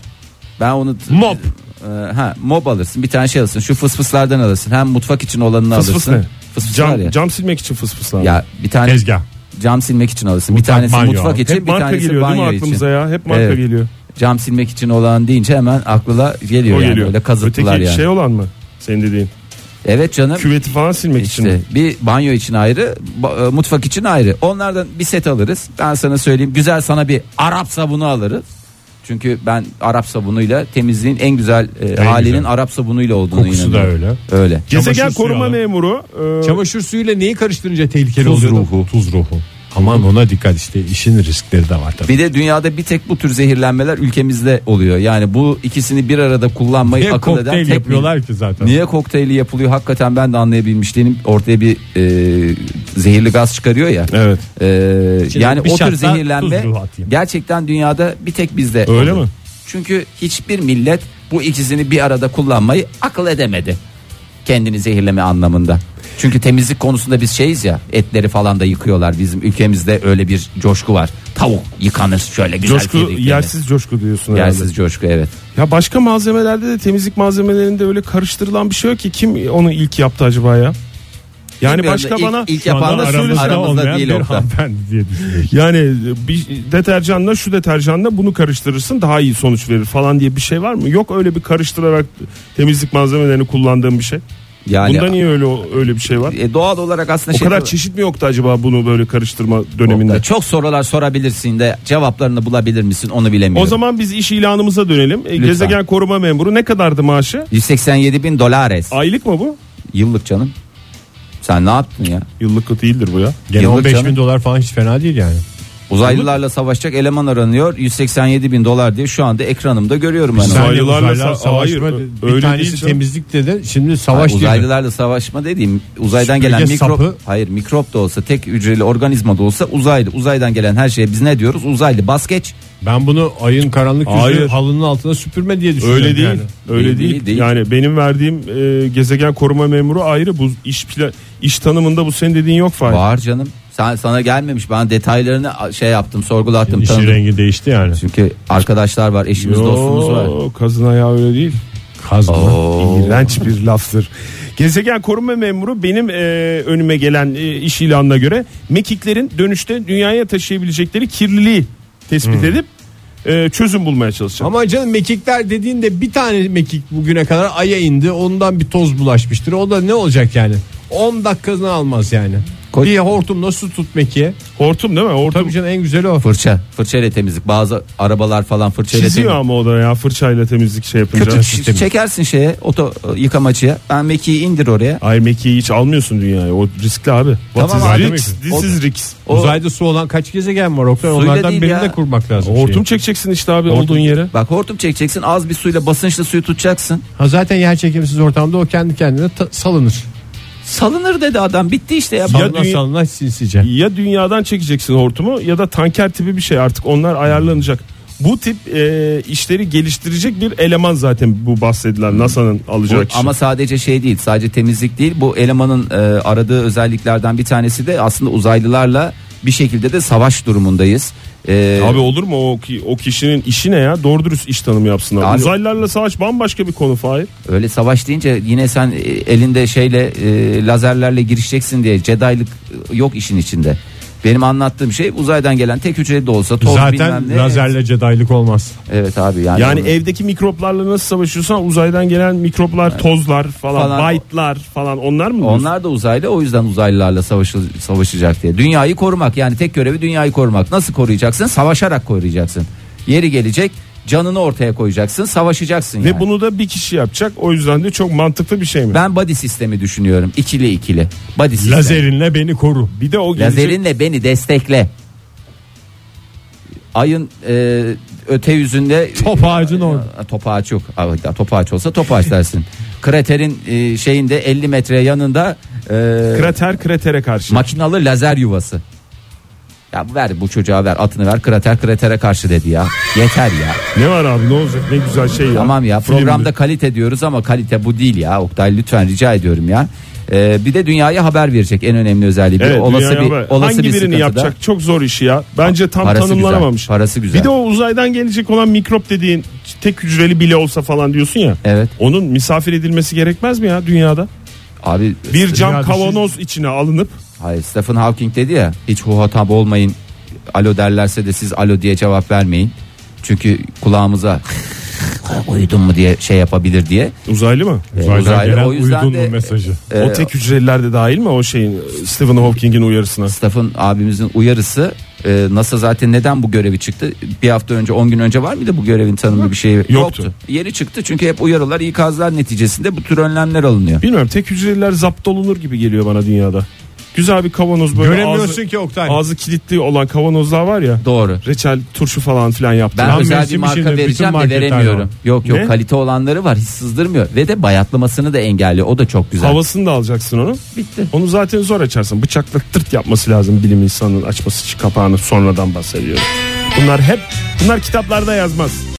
S4: Ben onu
S5: Mop.
S4: E, ha mob alırsın. Bir tane şey alırsın. Şu fısfıslardan alırsın. Hem mutfak için olanını
S5: Fıs fıs ne?
S4: alırsın. Fısfıs var
S5: Cam,
S4: ya.
S5: cam silmek için fıs fıslar.
S4: Ya bir tane
S3: Tezgah.
S4: cam silmek için alırsın. Bir
S3: Mutfak,
S4: tanesi
S3: banyo.
S4: mutfak için,
S5: Hep
S4: bir
S5: marka
S4: tanesi
S5: geliyor değil mi
S4: banyo için.
S5: aklımıza ya? Hep marka
S4: Evet.
S5: geliyor.
S4: Cam silmek için olan deyince hemen aklına geliyor
S5: o
S4: yani.
S5: geliyor.
S4: Öyle kazıttılar
S5: Öteki
S4: yani.
S5: şey olan mı? Senin dediğin.
S4: Evet canım.
S5: Küveti falan silmek için.
S4: İşte
S5: mi?
S4: bir banyo için ayrı, ba- e, mutfak için ayrı. Onlardan bir set alırız. Ben sana söyleyeyim. Güzel sana bir Arap sabunu alırız. Çünkü ben Arap sabunuyla temizliğin en güzel e, halinin
S3: güzel.
S4: Arap sabunuyla olduğunu
S3: Kokusu da
S4: inanıyorum.
S3: öyle.
S4: Öyle.
S5: Gezegen
S3: Çamaşır suyu
S5: koruma
S3: alalım.
S5: memuru. e,
S3: Çamaşır suyuyla neyi karıştırınca tehlikeli
S4: Tuz
S3: oluyor?
S4: ruhu.
S3: Tuz ruhu. Aman ona dikkat işte işin riskleri de var tabii.
S4: Bir de dünyada bir tek bu tür zehirlenmeler ülkemizde oluyor. Yani bu ikisini bir arada kullanmayı
S3: Niye
S4: akıl eden
S3: kokteyl
S4: tek
S3: yapıyorlar ki zaten?
S4: Niye kokteyli yapılıyor hakikaten ben de anlayabilmiş değilim. Ortaya bir e, zehirli gaz çıkarıyor ya.
S5: Evet.
S4: E,
S3: İçine
S4: yani
S3: bir
S4: o tür
S3: şartla
S4: zehirlenme
S3: tuz ruhu atayım.
S4: gerçekten dünyada bir tek bizde.
S5: Öyle
S4: oluyor.
S5: mi?
S4: Çünkü hiçbir millet bu ikisini bir arada kullanmayı akıl edemedi. Kendini zehirleme anlamında. Çünkü temizlik konusunda biz şeyiz ya etleri falan da yıkıyorlar. Bizim ülkemizde öyle bir coşku var. Tavuk yıkanır şöyle güzel.
S5: coşku
S4: kemikleri.
S5: yersiz coşku diyorsun herhalde.
S4: Yersiz coşku evet.
S5: Ya başka malzemelerde de temizlik malzemelerinde öyle karıştırılan bir şey yok ki kim onu ilk yaptı acaba ya? Yani
S4: Bilmiyorum da
S5: başka
S4: ilk-
S5: bana
S4: ilk
S5: Şu anda
S4: yapan da
S5: aramızda
S4: aramızda
S5: olmayan
S4: değil
S5: bir
S4: Oktay.
S3: hanımefendi diye düşünüyorum.
S5: Yani bir deterjanla şu deterjanla bunu karıştırırsın daha iyi sonuç verir falan diye bir şey var mı? Yok öyle bir karıştırarak temizlik malzemelerini kullandığım bir şey.
S4: Yani
S5: Bunda niye öyle öyle bir şey var?
S4: e, doğal olarak aslında
S5: O
S4: şey
S5: kadar çeşit mi yoktu acaba bunu böyle karıştırma döneminde?
S4: Çok sorular sorabilirsin de cevaplarını bulabilir misin onu bilemiyorum.
S5: O zaman biz iş ilanımıza dönelim. E, Gezegen koruma memuru ne kadardı maaşı?
S4: 187 bin dolares.
S5: Aylık mı bu?
S4: Yıllık canım. Sen ne yaptın ya?
S5: Yıllık değildir bu ya.
S3: Gene
S4: Yıllık
S3: 15
S4: canım.
S3: bin dolar falan hiç fena değil yani.
S4: Uzaylılarla savaşacak eleman aranıyor. 187 bin dolar diye şu anda ekranımda görüyorum ben. onu.
S5: Uzaylılarla
S3: Uzaylılarla
S5: sa-
S3: savaşma
S5: hayır,
S3: de-
S5: ö-
S3: bir
S5: öyle
S3: tanesi
S5: değil canım.
S3: temizlik dedi. Şimdi
S4: Hayır,
S3: savaş değil. mi?
S4: uzaylılarla savaşma dediğim uzaydan
S3: Süpürge
S4: gelen mikrop
S3: sapı.
S4: hayır mikrop da olsa tek hücreli organizma da olsa uzaylı uzaydan gelen her şeye biz ne diyoruz uzaylı bas geç
S3: Ben bunu ayın karanlık yüzü
S5: Hayır.
S3: halının altına süpürme diye düşünüyorum.
S5: Öyle değil.
S3: yani.
S5: Öyle
S4: Değil,
S5: değil.
S4: değil, değil.
S5: Yani benim verdiğim e, gezegen koruma memuru ayrı. Bu iş pla- iş tanımında bu senin dediğin yok Fahir.
S4: bağır canım sen sana gelmemiş ben detaylarını şey yaptım sorgulattım
S3: İşin
S4: tanıdım.
S3: rengi değişti yani.
S4: çünkü arkadaşlar var eşimiz dostumuz var
S5: Yo, Kazın ayağı öyle değil.
S3: Kaz mı?
S5: İğrenç bir laftır. Gezegen koruma memuru benim e, önüme gelen e, iş ilanına göre mekiklerin dönüşte dünyaya taşıyabilecekleri kirliliği tespit
S4: Hmm.
S5: edip e, çözüm bulmaya çalışacak.
S3: Ama canım mekikler dediğinde bir tane mekik bugüne kadar aya indi. Ondan bir toz bulaşmıştır. O da ne olacak yani? 10 dakikasını almaz yani.
S4: Koy-
S3: Bir hortumla su tut mekiğe.
S5: hortum değil mi? Hortum
S3: Tabii canım en güzeli o.
S4: Fırça. Fırça ile temizlik. Bazı arabalar falan fırça ile
S5: çiziyor
S4: temizlik.
S5: ama o da ya fırçayla temizlik şey yapınca.
S4: Kötü çiz- çekersin şeye oto yıkamacıya. Ben mekiği indir oraya.
S5: Ay mekiği hiç almıyorsun dünyaya. O riskli abi. What
S4: Tamam
S5: is
S4: abi.
S5: risk? This is risk.
S4: O-
S3: Uzayda su olan kaç gezegen var Oktay?
S4: Suyla
S3: Onlardan
S4: değil
S3: birini
S4: ya.
S3: de kurmak lazım.
S5: Hortum
S3: şeyi.
S5: çekeceksin işte abi olduğun yere.
S4: Bak şey. hortum çekeceksin. Az bir suyla basınçla suyu tutacaksın.
S3: Ha zaten yer çekimsiz ortamda o kendi kendine ta- salınır.
S4: Salınır dedi adam. Bitti işte ya.
S3: Salına
S5: dünya-
S3: salına sinsice.
S5: Ya dünyadan çekeceksin hortumu ya da tanker tipi bir şey artık onlar ayarlanacak. Bu tip e, işleri geliştirecek bir eleman zaten bu bahsedilen NASA'nın alacağı
S4: Bu-
S5: kişi.
S4: ama sadece şey değil sadece temizlik değil bu elemanın e, aradığı özelliklerden bir tanesi de aslında uzaylılarla bir şekilde de savaş durumundayız. E,
S5: Abi olur mu o, ki- o kişinin işi ne ya? Doğru dürüst iş tanımı yapsınlar.
S4: Abi-
S5: Uzaylılarla savaş bambaşka bir konu Fahir.
S4: öyle savaş deyince yine sen e, elinde şeyle e, lazerlerle girişeceksin diye Jedi'lık e, yok işin içinde. Benim anlattığım şey uzaydan gelen tek hücreli de olsa toz bilmem
S3: Zaten
S4: ne.
S3: lazerle cedaylık olmaz.
S4: Evet abi yani.
S5: Yani
S4: onu-
S5: evdeki mikroplarla nasıl savaşıyorsan uzaydan gelen mikroplar, tozlar falan,
S4: Falan.
S5: white'lar falan onlar mı? diyorsun?
S4: Onlar da uzaylı o yüzden uzaylılarla savaşı- savaşacak diye. Dünyayı korumak yani tek görevi dünyayı korumak. Nasıl koruyacaksın? Savaşarak koruyacaksın. Yeri gelecek canını ortaya koyacaksın savaşacaksın
S5: Ve
S4: yani.
S5: bunu da bir kişi yapacak. O yüzden de çok mantıklı bir şey mi?
S4: Ben body sistemi düşünüyorum. İkili ikili. Body sistemi.
S3: Lazerinle beni koru.
S5: Bir de o gelecek.
S4: Lazerinle beni destekle. Ayın e, öte yüzünde
S3: Top ağacın orada.
S4: Ha, Top ağaç yok. Ha, hatta Top ağaç olsa top ağaç dersin. Kraterin e, şeyinde 50 metre yanında e,
S5: Krater kratere karşı.
S4: makinalı lazer yuvası. Ya ver bu çocuğa ver atını ver krater kratere karşı dedi ya. Yeter ya.
S5: ne var abi ne olacak ne güzel şey ya.
S4: Tamam ya
S5: Filmdi.
S4: programda kalite diyoruz ama kalite bu değil ya Oktay lütfen rica ediyorum ya. Ee, bir de dünyaya haber verecek en önemli özelliği. Bir
S5: Evet,
S4: olası
S5: dünyaya
S4: bir
S5: haber.
S4: olası
S5: Hangi
S4: bir
S5: birini
S4: sıkıntıda-
S5: yapacak çok zor işi ya. Bence tam
S4: Parası
S5: tanımlanamamış.
S4: güzel, parası güzel.
S5: Bir de o uzaydan gelecek olan mikrop dediğin tek hücreli bile olsa falan diyorsun ya.
S4: Evet.
S5: Onun misafir edilmesi gerekmez mi ya dünyada?
S4: Abi
S5: Bir cam
S3: Dünya
S5: kavanoz
S3: şey-
S5: içine alınıp
S4: hayır Stephen Hawking dedi ya hiç huhatap olmayın. Alo derlerse de siz alo diye cevap vermeyin. Çünkü kulağımıza uyudun mu diye şey yapabilir diye.
S5: uzaylı mı?
S4: Uzaylı,
S3: gelen
S4: o yüzden
S3: uygun
S4: de- Ee,
S3: mu mesajı?
S5: o tek hücreliler de dahil mi o şeyin Stephen Hawking'in uyarısına?
S4: Stephen abimizin uyarısı e, NASA zaten neden bu görevi çıktı? Bir hafta önce 10 gün önce var mıydı bu görevin tanımlı bir şeyi? Yoktu. Yeni çıktı çünkü hep uyarılar ikazlar neticesinde bu tür önlemler alınıyor.
S5: Bilmiyorum tek hücreliler zapt olunur gibi geliyor bana dünyada. Güzel bir kavanoz böyle
S3: Göremiyorsun
S5: ağzı,
S3: ki Oktay.
S5: ağzı kilitli olan kavanozlar var ya.
S4: Doğru.
S5: Reçel turşu falan filan yaptı.
S4: Ben
S3: Tam
S4: özel bir
S3: mevsim
S4: marka
S3: içinde bütün
S4: vereceğim ve
S3: marketler
S4: veremiyorum.
S3: var.
S4: Yok yok
S5: Ne?
S4: kalite olanları var hiç sızdırmıyor ve de bayatlamasını da engelliyor. O da çok güzel.
S5: Havasını da alacaksın onu.
S4: bitti.
S5: Onu zaten zor açarsın. Bıçakla tırt yapması lazım bilim insanının açması için kapağını sonradan bahsediyorum. Bunlar hep bunlar kitaplarda yazmaz.